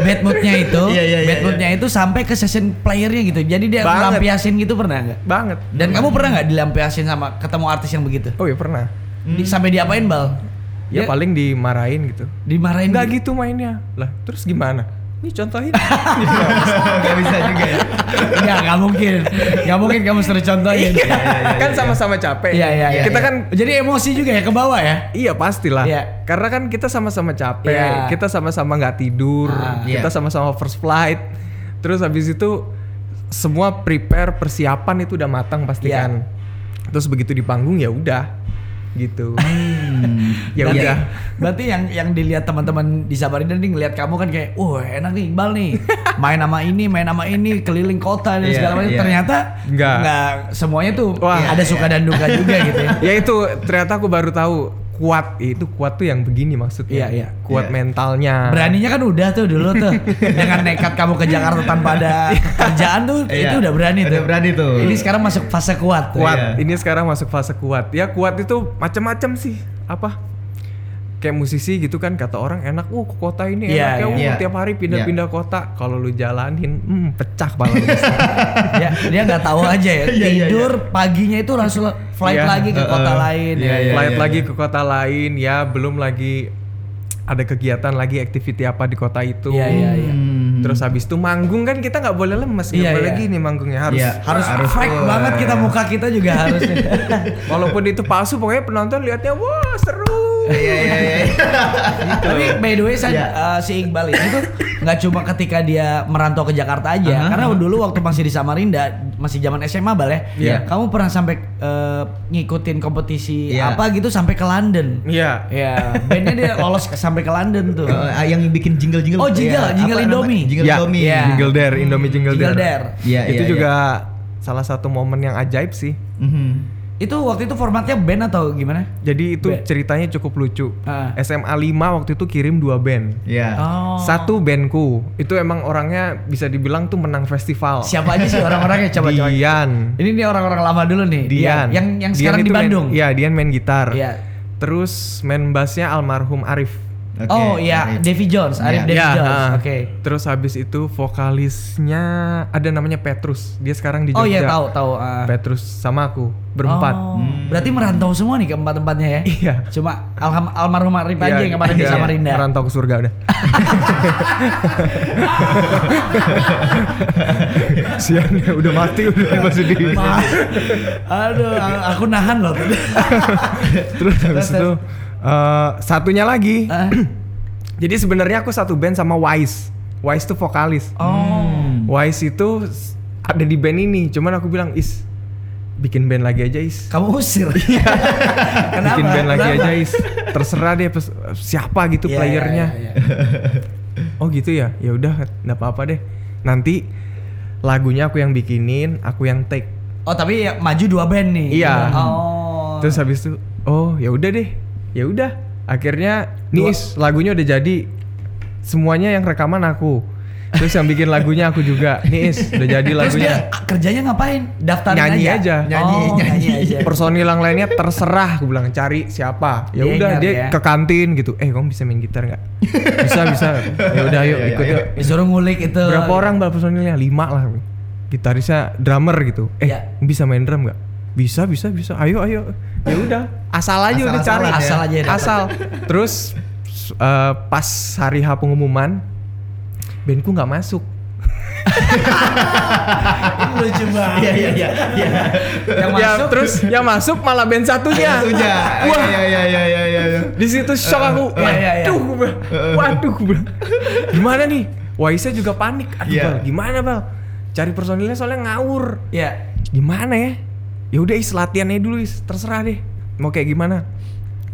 S2: bad moodnya itu,
S3: Iya, iya, iya,
S2: bad moodnya itu sampai ke session playernya gitu. Jadi dia
S4: Banget.
S2: melampiasin gitu pernah nggak?
S4: Banget.
S2: Dan kamu pernah nggak dilampiasin sama ketemu artis yang begitu?
S4: Oh ya pernah.
S2: Di- sampai diapain bal?
S4: Ya, paling dimarahin gitu.
S2: dimarahin
S4: Enggak gitu mainnya. Lah, terus gimana? Ini
S2: (laughs)
S4: contohin.
S3: Gak bisa juga ya.
S2: Enggak, (laughs) nggak mungkin. Nggak mungkin kamu suruh contohin.
S4: kan sama-sama capek.
S2: Iya, iya, iya.
S4: Kita kan
S2: jadi emosi juga ya ke bawah ya.
S4: Iya pastilah.
S2: Iya.
S4: Karena kan kita sama-sama capek,
S2: Iya.
S4: kita sama-sama nggak tidur,
S2: Ah,
S3: iya.
S4: kita sama-sama first flight. Terus habis itu semua prepare persiapan itu udah
S2: Iya.
S4: matang pastikan. Terus begitu di panggung ya udah
S2: (laughs)
S4: gitu.
S3: Hmm.
S4: ya
S2: Berarti-
S4: udah.
S2: Berarti yang yang dilihat teman-teman di Samarinda nih ngelihat kamu kan kayak, "Wah, enak nih Iqbal nih. Main sama ini, main sama ini, keliling kota dan
S3: Iya,
S2: segala macam."
S3: iya.
S2: Ternyata
S4: Nggak.
S2: semuanya tuh
S4: Wah.
S2: ada suka dan duka juga gitu
S3: Nah.
S2: ya.
S4: ya itu ternyata aku baru tahu kuat itu kuat tuh yang begini
S2: Iya,
S4: maksudnya.
S2: iya.
S4: Kuat
S3: Iya.
S4: mentalnya.
S2: Beraninya kan udah tuh dulu tuh. Dengan nekat kamu ke Jakarta tanpa ada kerjaan tuh
S3: Iya.
S2: itu udah berani tuh.
S3: Udah berani tuh.
S2: Ini sekarang masuk fase kuat. tuh. ya.
S4: kuat.
S3: Iya.
S4: Ini sekarang masuk fase kuat. Ya kuat itu macam-macam sih. Apa? Kayak musisi gitu kan kata orang enak, uh kota ini
S2: Iya,
S4: enak ya, uh
S3: iya.
S4: tiap hari pindah-pindah kota. Kalau lu jalanin, hmm pecah
S3: (laughs)
S4: banget.
S2: ya, dia nggak tahu aja ya.
S3: Iya, iya,
S2: Tidur paginya itu langsung flight
S4: Iya,
S2: lagi ke
S3: uh-uh.
S2: kota lain. ya.
S3: Iya, iya.
S4: Flight lagi ke kota lain, ya belum lagi ada kegiatan lagi, activity apa di kota itu.
S2: Iya, iya, iya.
S3: Hmm.
S4: Terus habis itu manggung kan kita nggak boleh lemes, nggak
S2: Iya,
S4: boleh
S2: iya.
S4: gini manggungnya harus.
S3: Iya.
S2: Harus,
S3: Harus
S2: fake
S3: keluar.
S2: banget kita muka kita juga harus.
S3: (laughs)
S4: Walaupun itu palsu, pokoknya penonton lihatnya wah seru.
S3: Iya iya iya.
S4: Gitu.
S2: Tapi by the way saya
S3: Iya.
S2: eh, si Iqbal ini tuh nggak cuma ketika dia merantau ke Jakarta aja. Karena dulu waktu masih di Samarinda, masih zaman SMA bal ya.
S4: Iya.
S2: Kamu pernah sampai eh, ngikutin kompetisi
S3: Iya.
S2: apa gitu sampai ke London.
S4: Iya. Oh,
S2: Ya, bandnya dia lolos ke- sampai ke London tuh.
S3: Eh, yang bikin jingle-jingle.
S2: Oh, jingle,
S3: Iya,
S2: jingle
S3: apa namanya?
S2: Indomie.
S3: Jingle
S4: Ya,
S3: Indomie. Hmm.
S2: iya.
S4: Jingle Dare, Indomie Jingle,
S2: Jingle Dare.
S4: Dare.
S3: Iya,
S4: itu
S3: iya,
S4: juga salah satu momen yang ajaib sih.
S3: Mhm.
S2: Itu waktu itu formatnya band atau gimana?
S4: Jadi itu
S2: Be-
S4: ceritanya cukup lucu.
S2: Ah.
S4: SMA 5 waktu itu kirim dua band.
S3: Iya.
S2: Oh.
S4: Satu bandku itu emang orangnya bisa dibilang tuh menang festival.
S2: Siapa aja sih orang-orangnya coba coba.
S4: Dian.
S2: Ini nih orang-orang lama dulu nih.
S4: Dian.
S2: Yang yang sekarang di
S4: itu main-
S2: Bandung.
S4: Iya, Dian main gitar.
S2: Iya.
S4: Terus main bassnya almarhum Arif.
S3: Oke,
S2: oh iya,
S3: baik.
S2: (laughs) Davy Jones, Arif
S3: Iya.
S2: Davy
S4: Iya,
S2: Jones.
S4: ah.
S2: Oke.
S4: Terus habis itu vokalisnya ada namanya Petrus. Dia sekarang di Jogja.
S2: Oh iya tahu tahu. ah.
S4: Petrus sama aku berempat. Hmm.
S2: Oh, Berarti merantau semua nih ke empat-empatnya ya?
S4: Iya.
S2: Cuma alham, almarhum Arif aja yang kemarin di
S4: iya,
S2: Samarinda.
S4: Merantau ke surga
S2: (laughs)
S4: udah. (laughs) Sian ya, udah mati
S3: (laughs)
S4: udah maksud dia.
S2: Ma- Aduh, a- aku nahan
S4: (laughs)
S2: loh Oh. tadi.
S4: Terus habis itu eh, satunya lagi.
S2: Ah.
S4: Jadi sebenarnya aku satu band sama Wise. Wise tuh vokalis. Hmm.
S2: oh.
S4: Wise itu s- ada di band ini, cuman aku bilang is bikin band lagi aja is.
S2: Kamu usir. (laughs) Kenapa?
S4: Iya. Bikin band lagi
S2: Kenapa?
S4: aja is. Terserah deh pes- siapa gitu
S2: Iya,
S4: playernya.
S2: iya, iya,
S4: Oh gitu ya? Ya udah, nggak apa-apa deh. Nanti lagunya aku yang bikinin, aku yang take.
S2: iya. Oh, tapi ya, maju dua band nih.
S4: Iya.
S2: Oh.
S4: Terus habis itu, oh ya udah deh, ya udah. Akhirnya nih Is, lagunya udah jadi. Semuanya yang rekaman aku. Terus yang bikin lagunya aku juga. Nih Is, udah jadi
S2: Terus
S4: lagunya.
S2: dia ah, kerjanya ngapain? Daftarin
S4: Nyanyi aja.
S2: Nyanyi,
S3: Nyanyi,
S2: nyanyi,
S3: nyanyi.
S2: aja.
S4: Personil yang lainnya terserah, aku bilang cari siapa. Ya
S2: Dia
S4: udah
S2: ingat
S4: Iya. dia
S2: ya.
S4: ke kantin gitu. Eh, kamu bisa main gitar (laughs) nggak? Bisa bisa. Ya udah yuk
S3: Ayo,
S4: ikut
S3: ayo.
S4: yuk.
S2: Disuruh ngulik itu.
S4: Berapa orang bal personilnya? Lima lah. Gitarisnya drummer gitu. Eh,
S2: Ya.
S4: bisa main drum nggak? Bisa, bisa, bisa. Ayo, ayo. Ya udah, asal aja udah
S3: Asal-asalan
S4: cari.
S2: ya. Asal aja ya.
S4: Asal. Terus s- eh, pas hari H pengumuman, bandku nggak masuk.
S2: Lucu
S4: (laughs)
S2: banget.
S3: Iya iya iya. iya.
S2: Yang
S4: Ya,
S2: masuk
S4: terus yang masuk malah band satunya.
S3: Satunya.
S4: Wah.
S3: Iya iya iya iya iya. iya.
S4: Di situ shock aku.
S2: eh, eh, eh,
S4: Waduh,
S2: eh.
S4: gue bilang. Waduh, gue bilang. Gimana nih? Waisnya juga panik. Aduh,
S3: Iya.
S4: Bal, gimana, Bal? Cari personilnya soalnya ngawur.
S2: ya.
S4: gimana ya ya udah is latihannya dulu is terserah deh mau kayak gimana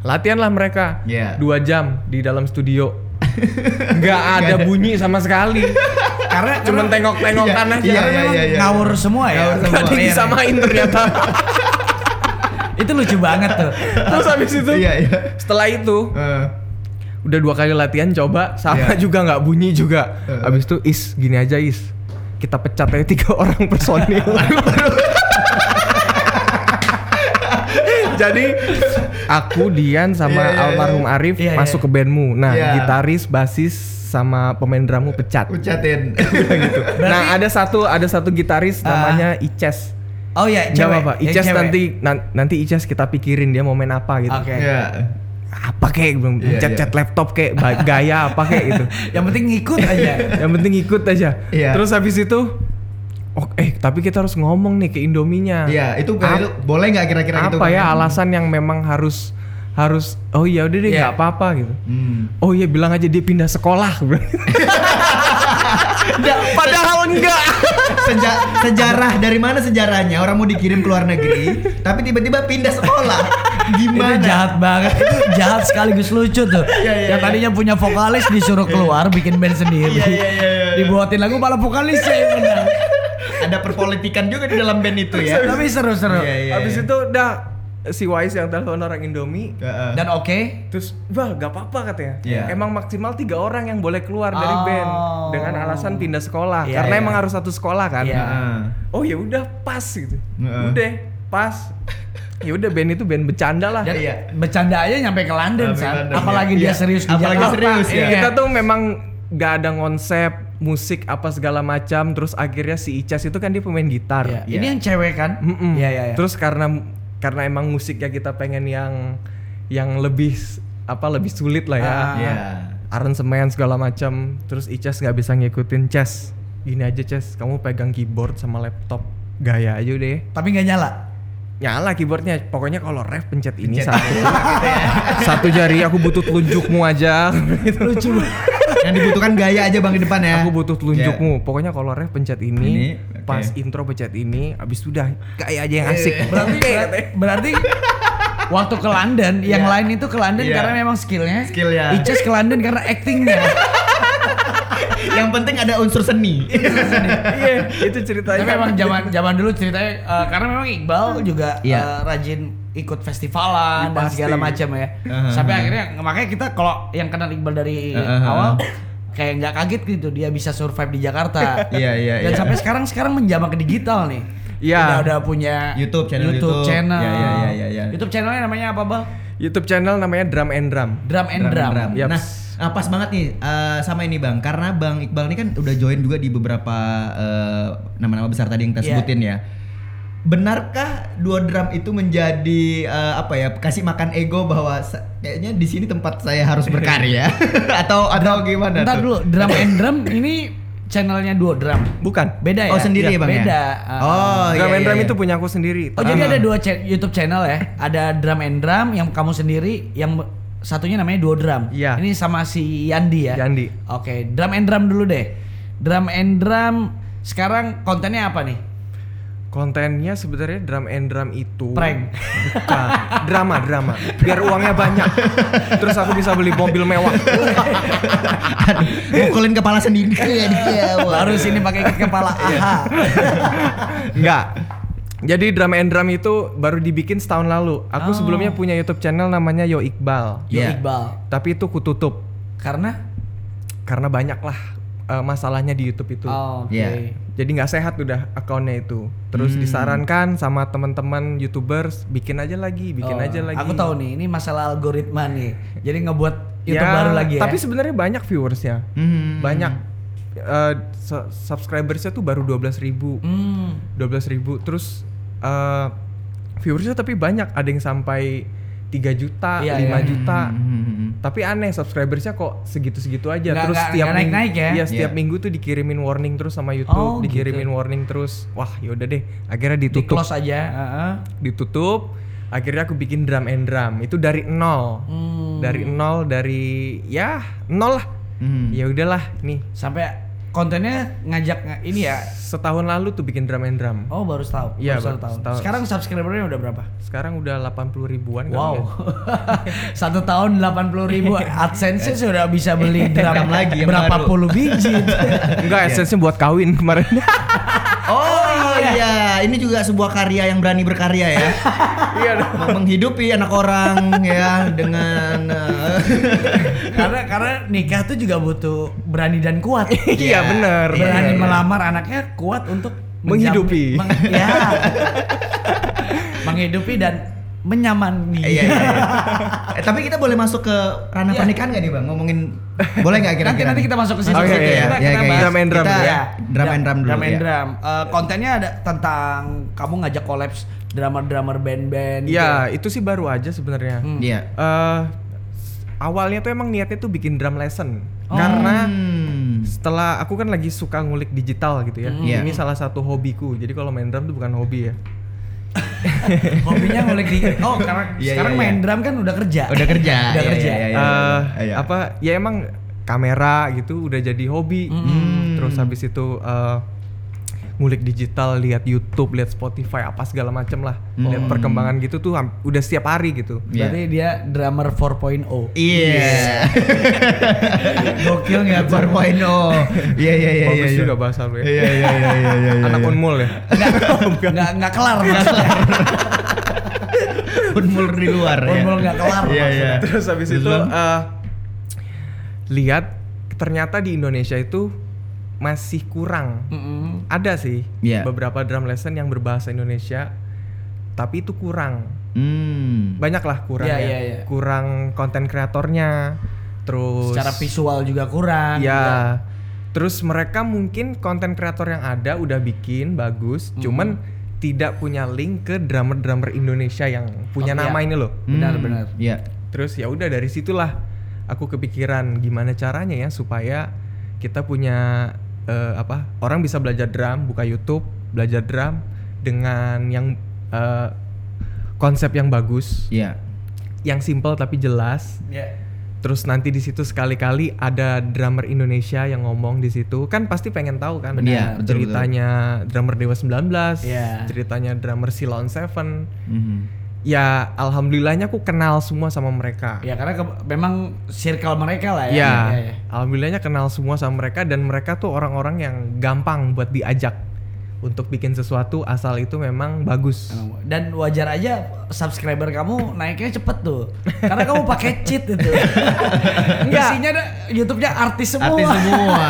S4: latihanlah mereka
S3: Iya.
S4: dua jam di dalam studio
S3: (laughs)
S4: nggak ada bunyi sama sekali karena cuman tengok-tengok
S3: Iya,
S4: tanah
S3: iya,
S4: aja
S3: iya, iya, iya.
S2: Ngawur semua ya.
S3: Ngawur semua. Iya.
S4: Nggak ada yang disamain ternyata
S3: (laughs)
S2: Itu lucu banget tuh.
S4: terus habis itu
S3: Iya iya.
S4: setelah itu
S3: Eh,
S4: udah dua kali latihan coba sama
S3: Iya.
S4: juga nggak bunyi juga habis itu is gini aja is kita pecat aja tiga orang
S3: (laughs)
S4: personil jadi aku Dian
S3: Iya, iya,
S4: sama
S3: iya.
S4: almarhum Arif
S2: Iya, iya.
S4: masuk ke bandmu nah
S3: Iya.
S4: gitaris basis sama pemain drummu pecat
S3: Ucatin. Udah gitu.
S4: nah ada satu ada satu gitaris
S3: Ah.
S4: namanya Ices
S2: Oh ya,
S3: Eh,
S4: Gak
S2: cewek.
S4: apa-apa,
S2: Yang
S4: Ices
S2: cewek.
S4: nanti nan- nanti Ices kita pikirin dia mau main apa gitu
S2: Oke.
S3: Iya.
S4: apa kek belum
S3: Iya,
S4: cat-cat
S3: iya.
S4: laptop kek ba- gaya apa kek
S3: (laughs)
S4: gitu
S2: Yang penting ngikut aja.
S4: yang penting ikut aja
S3: Iya.
S4: terus habis itu oh eh tapi kita harus ngomong nih ke Indominya
S3: Iya, itu kayak
S4: Ap-
S3: lu- boleh nggak kira-kira gitu?
S4: apa ya alasan yang memang harus harus oh iya udah deh
S2: Iya.
S4: nggak apa-apa gitu
S3: Hmm.
S4: oh iya bilang aja dia pindah sekolah (laughs) padahal enggak
S3: Seja- sejarah dari mana sejarahnya orang mau dikirim ke luar negeri tapi tiba-tiba pindah sekolah
S2: Itu
S3: gimana
S2: jahat banget. Itu jahat sekaligus lucu tuh.
S3: Iya, iya,
S2: yang
S3: iya.
S2: tadinya punya vokalis disuruh keluar bikin band sendiri.
S3: Iya, iya, iya, iya.
S2: Dibuatin lagu malah vokalisnya yang menang.
S3: ada perpolitikan juga di dalam band itu ya
S2: Tapi seru-seru.
S3: Iya, iya,
S4: habis
S3: iya.
S4: itu udah si Wise yang telepon orang Indomie
S3: Heeh.
S2: Dan oke.
S4: Terus, bah, gak apa-apa katanya.
S3: Iya.
S4: Emang maksimal tiga orang yang boleh keluar dari
S2: Oh.
S4: band dengan alasan pindah sekolah.
S2: Iya,
S4: Karena
S3: iya.
S4: emang harus satu sekolah kan.
S2: Iya.
S3: Heeh.
S4: Oh ya udah pas gitu.
S3: Heeh.
S4: Udah pas. Ya udah band itu band bercanda lah.
S2: Dan
S3: Iya.
S2: bercanda aja nyampe ke London,
S3: Sampai
S2: San.
S3: London,
S2: Apalagi
S3: iya.
S2: dia
S3: Iya.
S2: serius di
S3: Apalagi
S2: Jakarta.
S3: serius, ya.
S2: Iya.
S4: Kita tuh memang gak ada konsep musik apa segala macam. Terus akhirnya si Icas itu kan dia pemain gitar.
S2: Iya. Ini yang cewek kan?
S4: Mm-mm.
S2: Iya, iya, iya.
S4: Terus karena karena emang musiknya kita pengen yang yang lebih apa lebih sulit lah ya.
S2: Ah.
S3: Iya.
S4: aransemen segala macam terus Icas nggak bisa ngikutin Ces gini aja Ces kamu pegang keyboard sama laptop gaya aja deh
S2: Tapi nggak nyala.
S4: nyala keyboardnya pokoknya kalau ref pencet ini satu satu jari aku butuh telunjukmu aja
S2: Lucu banget.
S3: yang dibutuhkan gaya aja bang di depan ya
S4: aku butuh telunjukmu pokoknya kalau ref pencet ini,
S3: Ini, oke.
S4: pas intro pencet ini abis itu udah gaya aja yang
S3: Iya,
S4: asik
S2: Berarti berarti waktu ke London, yang lain itu ke London
S3: Iya.
S2: karena memang skillnya.
S3: Skillnya. (laughs)
S2: Ices ke London karena actingnya.
S3: Yang penting ada unsur seni.
S4: Iya, itu ceritanya.
S2: Tapi memang zaman zaman dulu ceritanya eh, karena memang Iqbal juga
S3: Iya.
S2: eh, rajin ikut festivalan dan
S4: Pasti.
S2: segala macam ya.
S3: Uh-huh.
S2: Sampai akhirnya makanya kita kalau yang kenal Iqbal dari
S3: Uh-huh.
S2: awal kayak nggak kaget gitu dia bisa survive di Jakarta.
S3: (laughs) Iya, iya,
S2: Dan
S3: iya.
S2: sampai sekarang sekarang menjamak ke digital nih.
S4: Iya.
S2: Udah udah punya
S3: YouTube channel, YouTube.
S2: channel.
S3: Iya, iya, iya, iya, iya.
S2: YouTube channelnya namanya apa, Bal?
S4: YouTube channel namanya Drum and Drum.
S2: Drum and Drum.
S3: Drum.
S4: Yaps.
S3: Nah, ah, pas banget nih eh, sama ini Bang, karena Bang Iqbal ini kan udah join juga di beberapa eh, nama-nama besar tadi yang kita
S2: Iya.
S3: sebutin ya. Benarkah dua drum itu menjadi eh, apa ya kasih makan ego bahwa se- kayaknya di sini tempat saya harus berkarya (laughs) atau atau gimana
S2: Bentar Iya. dulu,
S3: tuh?
S2: Drum and Drum ini channelnya Duo Drum.
S4: Bukan.
S2: Beda ya?
S3: Oh sendiri
S2: Iya,
S3: ya Bang ya?
S2: Beda. eh,
S3: Oh
S4: Drum
S3: iya,
S4: and
S3: iya,
S4: Drum
S3: iya. (laughs)
S4: itu punya aku sendiri.
S2: Oh jadi ada dua cha- YouTube channel ya, ada Drum and Drum yang kamu sendiri, yang satunya namanya Duo Drum.
S4: Iya.
S2: Ini sama si Yandi ya.
S4: Yandi.
S2: Oke, Drum and Drum dulu deh. Drum and Drum sekarang kontennya apa nih?
S4: Kontennya sebenarnya Drum and Drum itu
S2: Prank.
S4: Bukan. drama, drama. Biar uangnya banyak. Terus aku bisa beli mobil mewah.
S3: Aduh, mukulin kepala
S2: (laughs)
S3: sendiri ya dia. wah.
S2: Baru sini pakai ikat
S3: (laughs)
S2: kepala.
S3: Iya.
S2: Aha.
S4: Enggak. Jadi Drum and Drum itu baru dibikin setahun lalu. Aku sebelumnya punya YouTube channel namanya Yo Iqbal.
S2: Oh. Yo
S3: Iya.
S2: Iqbal.
S4: Tapi itu kututup
S2: Karena
S4: karena banyak lah eh, masalahnya di YouTube itu.
S2: Oh, oke.
S3: Iya.
S4: Jadi nggak sehat udah akunnya itu. Terus
S2: Hmm.
S4: disarankan sama teman-teman YouTubers bikin aja lagi, bikin
S2: Oh,
S4: aja lagi.
S2: Aku tahu nih, ini masalah algoritma nih. Jadi ngebuat YouTube
S4: Ya,
S2: baru lagi ya.
S4: Tapi sebenarnya banyak viewersnya.
S3: Hmm.
S4: Banyak Eh, su- subscribersnya tuh baru 12.000 ribu,
S2: Hmm.
S4: ribu. Terus eh, viewersnya tapi banyak, ada yang sampai 3 juta,
S2: Iya,
S4: 5
S2: iya.
S4: juta.
S3: Hmm.
S4: Tapi aneh subscribersnya kok segitu-segitu aja.
S2: Nggak-
S4: terus
S2: nggak-
S4: setiap
S2: nggak
S4: minggu-
S2: naik-naik ya?
S4: Iya, setiap
S3: Iya.
S4: minggu tuh dikirimin warning terus sama
S2: Oh,
S4: YouTube,
S2: gitu.
S4: dikirimin warning terus. Wah, yaudah deh. Akhirnya
S2: Di
S4: ditutup,
S2: close aja. heeh.
S4: ditutup. Akhirnya aku bikin drum and drum. Itu dari nol.
S2: Hmm.
S4: Dari nol dari ya nol lah.
S3: Hmm.
S4: Ya udahlah, nih
S2: Sampai kontennya ngajak ini ya
S4: setahun lalu tuh bikin drum and drum.
S2: Oh baru setahun, baru
S4: Iya,
S2: satu
S4: baru
S2: tahun.
S4: setahun.
S2: Sekarang subscribernya udah berapa?
S4: Sekarang udah 80 ribuan kali
S2: Wow,
S4: ya.
S2: (laughs) satu tahun 80 ribu AdSense sudah bisa beli drum
S3: Drum lagi yang
S2: berapa
S3: baru.
S2: puluh biji.
S4: Enggak,
S2: Iya.
S4: essence buat kawin
S2: (laughs)
S4: kemarin.
S3: Oh iya, ini juga sebuah karya yang berani berkarya ya.
S4: Iya dong.
S3: Meng- Menghidupi anak orang ya dengan eh,
S2: karena karena nikah tuh juga butuh berani dan kuat.
S3: ya,
S4: Iya, bener. bener.
S3: iya.
S2: berani melamar anaknya kuat untuk
S4: Menghidupi.
S2: menjam- meng- ya. (laughs) menghidupi dan menyamani.
S3: iya, iya, iya. Eh, Tapi kita boleh masuk ke ranah pernikahan nggak nih bang? Ngomongin boleh nggak
S2: Nanti
S3: kira-kira?
S2: nanti kita masuk ke situ.
S4: Oke,
S2: Kita-
S3: ya.
S4: iya,
S2: kita-
S4: iya,
S2: kita
S4: iya,
S2: bahas.
S4: Drum and drum
S3: kita,
S4: dulu
S2: ya.
S3: Drum and drum dulu
S2: Drum and
S3: ya.
S2: drum. Eh, kontennya ada tentang kamu ngajak kolaps drummer-drummer band-band. gitu
S4: Iya,
S2: ya.
S3: (laughs)
S4: itu sih baru aja sebenarnya.
S2: Hmm.
S3: Iya.
S4: Eh, awalnya tuh emang niatnya tuh bikin drum lesson.
S2: Oh.
S4: Karena
S3: Hmm.
S4: setelah aku kan lagi suka ngulik digital gitu ya.
S2: Hmm.
S3: Iya.
S4: Ini salah satu hobiku. Jadi kalau main drum tuh bukan hobi ya.
S2: Hobinya ngulik di Oh, karena
S3: Iya,
S2: sekarang
S3: iya,
S2: main
S3: iya.
S2: drum kan udah kerja.
S3: Udah kerja.
S2: Udah
S3: iya,
S2: kerja.
S3: iya, iya,
S4: Eh
S3: iya, iya.
S4: apa ya emang kamera gitu udah jadi hobi. Hmm, Terus habis itu eh, ngulik digital, lihat YouTube, lihat Spotify, apa segala macem lah.
S3: Hmm.
S4: Lihat perkembangan gitu tuh ham- udah setiap hari gitu.
S2: Berarti dia drummer oh. 4.0.
S3: (laughs) Iya.
S2: Gokil nggak tuh?
S3: 4.0. Iya iya iya.
S4: Bagus
S3: iya,
S4: juga
S3: iya.
S4: bahasa lu ya.
S3: Iya iya iya iya iya.
S4: Anak
S3: iya.
S4: unmul
S3: (laughs)
S4: ya.
S2: Nggak, nggak nggak kelar maksudnya.
S3: Unmul di luar ya.
S2: Unmul nggak kelar
S3: Iya iya.
S4: Terus habis itu
S3: Belum.
S4: eh, lihat ternyata di Indonesia itu masih kurang.
S2: Mm-mm.
S4: Ada sih
S3: Iya.
S4: beberapa drum lesson yang berbahasa Indonesia, tapi itu kurang.
S3: Hmm.
S4: Banyaklah kurang
S2: Iya,
S4: ya.
S2: iya, iya.
S4: Kurang konten kreatornya. Terus
S2: Secara visual juga kurang.
S3: Iya.
S4: Ya. Terus mereka mungkin konten kreator yang ada udah bikin bagus,
S2: Hmm.
S4: cuman tidak punya link ke drummer-drummer Indonesia yang punya
S2: Oh, iya.
S4: nama ini loh.
S2: Benar-benar.
S3: Iya.
S4: Terus ya udah dari situlah aku kepikiran gimana caranya ya supaya kita punya eh, apa? Orang bisa belajar drum, buka YouTube, belajar drum dengan yang eh, konsep yang bagus,
S3: Iya.
S4: yang simple tapi jelas.
S2: Ya.
S4: Terus nanti di situ sekali-kali ada drummer Indonesia yang ngomong di situ, kan pasti pengen tahu kan
S3: Benar, Iya, betul,
S4: ceritanya drummer Dewa 19,
S2: Iya.
S4: ceritanya drummer Silon Seven.
S3: Mhm.
S4: ya alhamdulillahnya aku kenal semua sama mereka.
S2: Ya
S3: Iya,
S2: karena ke- memang circle mereka lah ya.
S4: Ya,
S2: Ya, ya.
S4: alhamdulillahnya kenal semua sama mereka dan mereka tuh orang-orang yang gampang buat diajak untuk bikin sesuatu asal itu memang bagus.
S2: Dan wajar aja subscriber kamu naiknya cepet tuh. Karena kamu pakai cheat itu. Isinya ada YouTube-nya artis semua.
S3: Artis semua.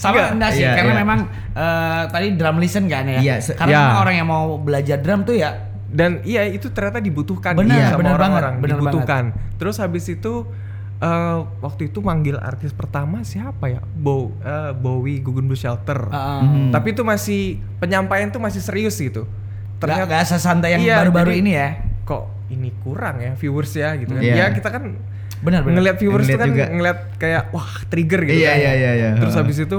S2: Sama enggak sih,
S3: Iya,
S2: karena
S3: iya.
S2: memang eh, tadi drum listen kan ya.
S3: Iya, se-
S2: karena
S4: Iya.
S2: memang orang yang mau belajar drum tuh ya
S4: Dan iya itu ternyata dibutuhkan
S2: Benar,
S4: iya,
S2: benar
S4: sama orang-orang
S2: banget, benar
S4: dibutuhkan. Terus habis itu eh, waktu itu manggil artis pertama siapa ya? Bow, eh, Bowie Gugun Blue Shelter. Hmm.
S2: Heeh.
S3: Mm-hmm. Hmm.
S4: Tapi itu masih penyampaian tuh masih serius gitu.
S2: ternyata gak
S4: Ternyata
S2: sesantai yang
S4: Iya,
S2: baru-baru
S4: jadi-
S2: ini ya.
S4: kok ini kurang ya viewers ya gitu kan.
S3: Iya.
S4: Ya kita kan
S2: Benar benar.
S4: ngelihat viewers
S3: Ngeliat
S4: tuh kan
S3: juga.
S4: ngeliat kayak wah trigger gitu
S3: Iya,
S4: kan.
S3: iya, iya, iya.
S4: Terus
S3: Heeh.
S4: habis itu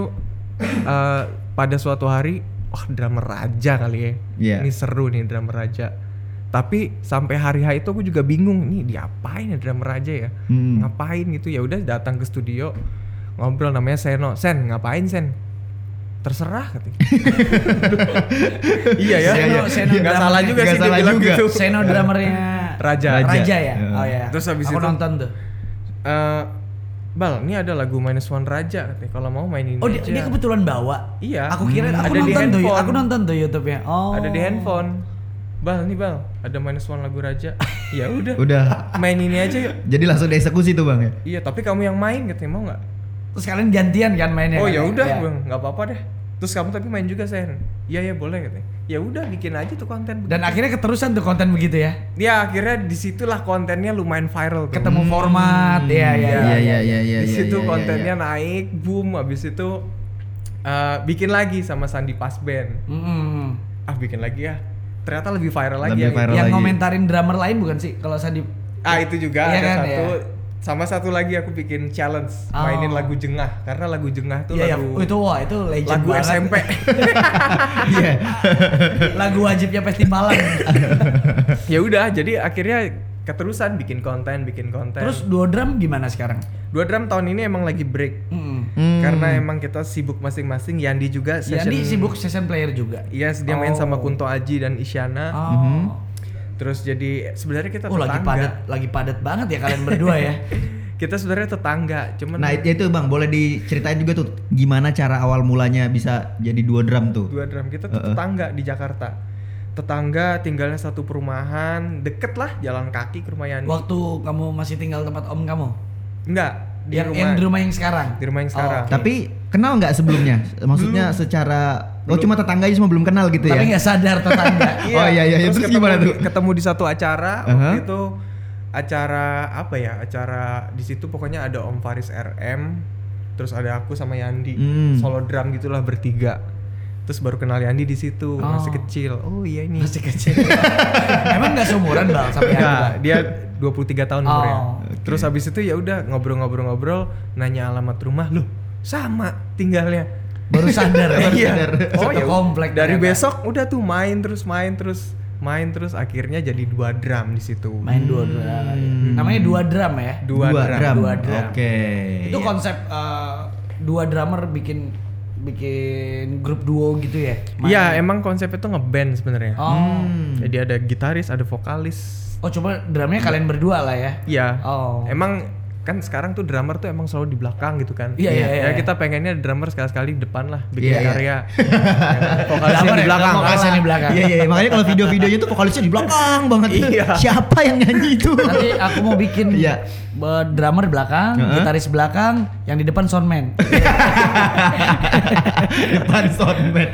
S4: eh, pada suatu hari wah drama raja kali ya.
S3: Iya.
S4: Ini seru nih drama raja. Tapi sampai hari hari itu aku juga bingung nih diapain ya drama raja ya?
S3: Hmm.
S4: Ngapain gitu? Ya udah datang ke studio ngobrol namanya Seno. Sen, ngapain Sen? Terserah
S3: (laughs)
S4: katanya. iya ya.
S3: Iya, iya.
S2: Seno,
S4: Nggak
S2: Seno
S4: salah
S2: drummernya.
S4: juga
S3: Nggak
S4: sih dia
S3: salah
S4: bilang
S3: juga.
S4: gitu.
S2: Seno drummernya
S4: Raja.
S2: Raja ya.
S3: Iya.
S2: Oh ya.
S4: Terus habis
S2: Aku
S4: itu-
S2: nonton tuh.
S4: Eh, Bal, ini ada lagu minus one Raja katanya. Kalau mau mainin
S2: Oh dia,
S4: aja.
S2: dia kebetulan bawa.
S4: Iya.
S2: Aku kira
S4: Hmm.
S2: aku
S4: Ada di
S2: nonton tuh. ya,
S4: handphone.
S2: Aku nonton tuh YouTube-nya. Oh.
S4: ada di handphone. Bal, nih Bal, ada minus one lagu
S2: (laughs)
S4: Raja. ya udah.
S3: Udah.
S4: Main ini aja yuk.
S3: Jadi langsung dieksekusi tuh bang ya.
S4: Iya, tapi kamu yang main katanya mau nggak?
S2: Terus kalian gantian kan mainnya.
S4: oh
S2: kan?
S4: ya udah,
S2: Iya.
S4: Bang, nggak apa-apa deh. Terus kamu tapi main juga Sen. Iya ya boleh katanya. Ya udah bikin aja tuh konten.
S2: Dan akhirnya keterusan tuh konten begitu ya.
S4: ya akhirnya disitulah kontennya lumayan viral. tuh. Hmm.
S2: Ketemu format, ya ya.
S3: Hmm. Iya iya iya iya.
S4: Di
S3: iya,
S4: situ
S3: iya, iya,
S4: kontennya
S3: iya.
S4: naik, boom. Abis itu eh, bikin lagi sama Sandi Pasben.
S2: Mm-mm.
S4: Ah bikin lagi ya. Ternyata lebih viral lagi. ya,
S3: Lebih
S4: gitu. yang itu.
S3: viral.
S2: Yang
S3: lagi.
S2: ngomentarin drummer lain bukan sih kalau Sandi?
S4: Ah itu juga
S2: Iya
S4: ada
S2: kan,
S4: satu.
S2: iya.
S4: Sama satu lagi aku bikin challenge
S2: Oh.
S4: mainin lagu Jengah karena lagu Jengah tuh
S2: Iya, ya,
S4: lagu
S2: itu wah itu legend
S4: lagu
S2: banget.
S4: SMP.
S3: (laughs) Iya.
S2: (laughs) lagu wajibnya
S4: (laughs)
S2: festivalan.
S4: (laughs) ya udah jadi akhirnya keterusan bikin konten bikin konten.
S2: Terus duo drum gimana sekarang?
S4: dua drum tahun ini emang lagi break
S2: Mm-mm.
S3: Hmm.
S4: karena emang kita sibuk masing-masing. Yandi juga session.
S2: Yandi Ya, sibuk Oh. session player juga.
S4: Yes, dia main sama Kunto Aji dan Isyana.
S2: Oh.
S4: Terus jadi sebenarnya kita
S2: Oh,
S4: tetangga.
S2: lagi padat, lagi padat banget ya kalian berdua
S4: (laughs)
S2: ya.
S4: Kita sebenarnya tetangga, cuman
S3: Nah itu itu, bang boleh diceritain juga tuh gimana cara awal mulanya bisa jadi dua drum tuh.
S4: dua drum kita tuh tetangga di Jakarta. Tetangga tinggalnya satu perumahan, deket lah jalan kaki ke rumah Yandi.
S2: Waktu kamu masih tinggal tempat om kamu.
S4: Enggak, di
S2: yang,
S4: rumah.
S2: yang di rumah yang sekarang.
S4: Di rumah yang
S2: Oh,
S4: sekarang.
S3: Tapi kenal nggak sebelumnya? Maksudnya secara oh cuma tetangga aja semua belum kenal gitu
S2: Tapi
S3: ya?
S2: nggak sadar
S3: (laughs)
S2: tetangga.
S3: Oh, iya, iya, iya. Terus
S4: ketemu
S3: gimana
S4: di-
S3: tuh?
S4: Ketemu di satu acara
S3: Aha.
S4: waktu itu acara apa ya? Acara di situ pokoknya ada Om Faris RM, terus ada aku sama Yandi,
S3: Hmm.
S4: solo drum gitulah bertiga. Terus baru kenal Yandi di situ, masih
S2: Oh.
S4: kecil. Oh iya ini.
S2: Masih
S3: (laughs)
S2: kecil. Emang nggak seumuran bang sampai hari
S4: Enggak,
S2: Bang?
S4: dia 23 tahun
S2: Iya. Oh,
S4: umurnya.
S2: oke.
S4: Terus habis itu ya udah ngobrol-ngobrol-ngobrol, nanya alamat rumah, loh sama tinggalnya.
S2: Baru sadar. ya?
S3: Baru
S4: Iya.
S3: sadar.
S4: (laughs) Oh
S2: Satu
S4: ya.
S2: komplek
S4: Dari
S2: ternyata.
S4: besok udah tuh main terus main terus main terus akhirnya jadi dua drum di situ.
S2: Main duo drum. ya.
S3: Hmm.
S2: Namanya dua drum ya.
S4: Dua, drum.
S2: Dua drum.
S3: Oke.
S2: Itu
S3: Iya.
S2: konsep eh, dua drummer bikin bikin grup duo gitu ya. Main.
S4: Iya, emang konsepnya tuh ngeband sebenarnya.
S2: Oh.
S3: Hmm.
S4: Jadi ada gitaris, ada vokalis.
S2: Oh, cuma drumnya kalian berdua lah ya.
S4: Iya.
S2: Oh.
S4: Emang kan sekarang tuh drummer tuh emang selalu di belakang gitu kan.
S2: Iya, iya, iya,
S4: Ya
S2: iya.
S4: kita pengennya drummer sekali-sekali di depan lah bikin
S3: Iya, iya.
S4: karya.
S2: (laughs)
S4: Ya kan? Vokalisnya
S2: Drummer
S4: di
S2: ya,
S4: belakang.
S2: drummer. Vokalisnya di belakang.
S3: Iya iya iya. makanya kalau video-videonya tuh vokalisnya di belakang
S2: (laughs)
S3: banget.
S4: Iya.
S3: Siapa yang nyanyi itu?
S2: Nanti aku mau bikin
S3: Iya.
S2: be- drummer belakang,
S3: Heeh. Iya,
S2: gitaris belakang, yang di depan soundman.
S3: depan soundman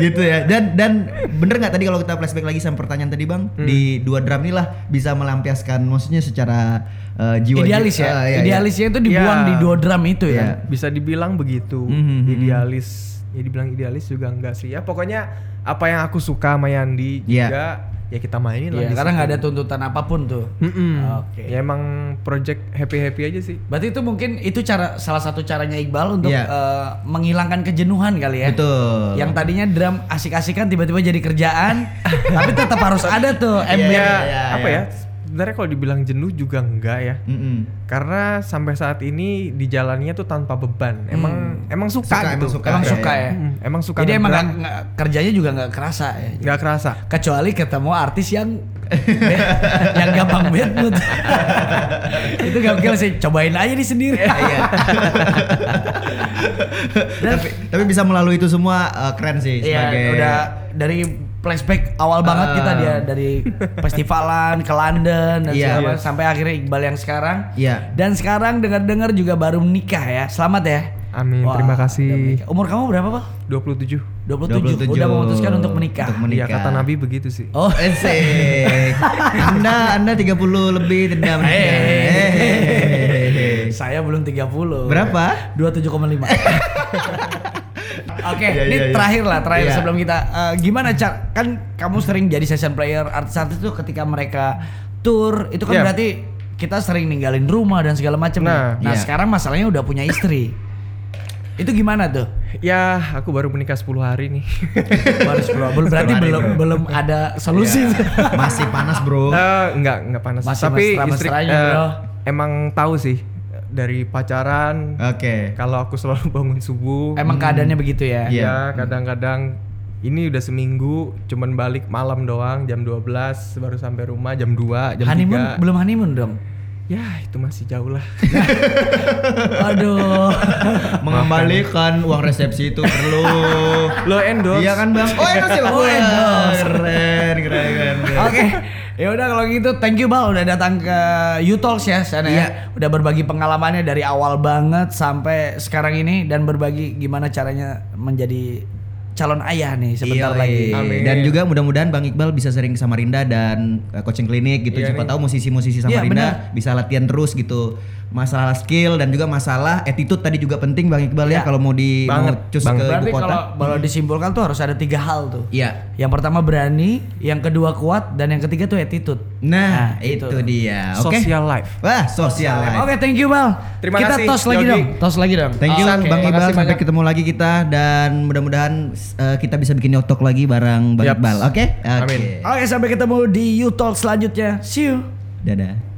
S3: gitu ya dan dan bener nggak tadi kalau kita flashback lagi sama pertanyaan tadi bang
S2: Hmm.
S3: di dua drum inilah bisa melampiaskan maksudnya secara eh, jiwa
S2: Idealis ya.
S3: Eh, iya, iya.
S2: Idealisnya itu dibuang
S4: Iya.
S2: di duo drum itu ya.
S3: Iya.
S4: Kan bisa dibilang begitu
S3: Mhm, mhm.
S4: idealis ya dibilang idealis juga enggak sih ya pokoknya apa yang aku suka sama Yandi
S3: Iya.
S4: juga ya kita
S2: Iya,
S4: mainin lah di
S2: karena
S4: situ.
S2: nggak ada tuntutan apapun tuh.
S4: Mm-mm.
S2: Oke.
S4: ya emang project happy happy aja sih
S2: Berarti itu mungkin itu cara salah satu caranya Iqbal untuk
S3: Iya.
S2: eh, menghilangkan kejenuhan kali ya.
S3: betul
S2: Yang tadinya drum asik-asikan tiba-tiba jadi kerjaan, (laughs) tapi tetap harus ada tuh ember.
S3: Iya,
S4: ya
S3: iya,
S4: apa
S3: iya.
S4: ya sebenarnya kalau dibilang jenuh juga enggak ya
S3: Mm-mm.
S4: karena sampai saat ini dijalannya tuh tanpa beban emang emang
S3: Suka,
S4: suka, gitu
S3: emang suka.
S2: Emang
S3: Iya,
S2: suka
S3: iya.
S2: ya.
S4: Mm, emang suka
S2: Jadi emang
S4: ngedrum,
S2: nggak- nggak- kerjanya juga nggak kerasa ya.
S4: nggak kerasa
S2: Kecuali ketemu artis yang (laughs) yang gampang (laughs) banget itu gokil sih cobain aja di sendiri (laughs)
S3: tapi tapi bisa melalui itu semua eh, keren sih
S2: Iya,
S3: sebagai
S2: udah dari flashback awal banget kita dia dari festivalan ke London dan
S3: Iya.
S2: segala macam, sampai akhirnya Iqbal yang sekarang.
S3: Iya.
S2: Dan sekarang dengar-dengar juga baru menikah ya. Selamat ya.
S4: Amin,
S2: Wah,
S4: Hmm, terima
S2: udah
S4: kasih.
S2: menikah. Umur kamu berapa, Pak?
S4: 27.
S2: 27.
S3: 27.
S2: Udah memutuskan untuk menikah.
S3: Untuk
S4: Iya,
S3: menikah. Eh,
S4: kata Nabi begitu sih.
S2: Oh, (laughs)
S3: Asik. Anda Anda 30 lebih tidak menikah. Hehehe.
S2: saya belum 30.
S3: eh, Berapa? (laughs)
S2: 27,5. Oke,
S3: Iya,
S2: ini
S3: iya, iya.
S2: terakhir lah, terakhir
S3: Iya.
S2: sebelum kita eh, gimana Cak? Kan kamu sering jadi session player artis-artis tuh ketika mereka tour itu kan
S4: Iya.
S2: berarti kita sering ninggalin rumah dan segala macam.
S4: Nah,
S2: nah
S3: iya.
S2: sekarang masalahnya udah punya istri. itu gimana
S3: (laughs)
S2: tuh?
S4: Ya, aku baru menikah 10 hari nih.
S2: Baru sepuluh- bel- berarti
S3: Kemarin,
S2: belum
S3: bro. Iya.
S2: belum ada solusi.
S3: Masih panas, Bro.
S4: Eh, enggak, enggak panas.
S2: Masih
S4: Tapi istri
S2: mesra-mesranya,
S4: eh,
S2: gitu, bro.
S4: emang tahu sih eh, dari pacaran
S3: Oke.
S4: kalau aku selalu (laughs) bangun subuh.
S2: (laughs) Eh. Emang keadaannya begitu ya?
S3: Iya.
S4: Ya, kadang-kadang ini udah seminggu cuman balik malam doang jam 12 baru sampai rumah jam 2, jam
S2: honeymoon
S4: 3.
S2: belum honeymoon
S3: (laughs)
S2: dong.
S4: Ya, itu masih jauh lah.
S2: Aduh.
S3: Mengembalikan uang resepsi itu perlu.
S4: Lo endorse.
S3: Iya kan, Bang? Oh, itu sih, Bang.
S2: Oh, endorse.
S3: Keren, keren, keren. keren.
S2: Oke, ya udah kalau gitu thank you Bal udah datang ke You Talks ya sana ya.
S3: Iya.
S2: Udah berbagi pengalamannya dari awal banget sampai sekarang ini dan berbagi gimana caranya menjadi calon ayah nih sebentar
S3: Iya,
S2: lagi.
S3: iya.
S4: Amin.
S3: Dan juga mudah-mudahan Bang Iqbal bisa sering ke Samarinda dan eh, coaching klinik gitu.
S4: Iya
S3: Siapa
S4: nih.
S3: tahu musisi-musisi
S2: Iya,
S3: Samarinda bisa latihan terus gitu. Masalah skill dan juga masalah attitude tadi juga penting Bang Iqbal
S2: Iya.
S3: ya kalau mau di mau
S4: Banget,
S3: cus ke
S4: banget.
S3: ibu
S2: Berarti
S3: kota.
S2: kalau kalau disimpulkan tuh harus ada tiga hal tuh.
S3: Iya.
S2: Yang pertama berani, yang kedua kuat, dan yang ketiga tuh attitude.
S3: Nah,
S2: Nah,
S3: itu,
S2: itu.
S3: dia. Oke.
S4: Social life.
S3: Wah, sosial. life.
S2: Oke, thank you Bal.
S4: Terima
S2: Kita
S4: kasih,
S2: tos lagi
S4: Yogi.
S2: dong. Tos lagi dong.
S3: Thank you
S4: Oke,
S3: Bang Iqbal
S4: makasih
S3: sampai
S4: banyak.
S3: ketemu lagi kita dan mudah-mudahan eh, kita bisa bikin yotok lagi bareng Bang
S4: Yap.
S3: Iqbal. Oke? Oke.
S4: Amin.
S2: Oke, sampai ketemu di You Talk selanjutnya. See you.
S3: Dadah.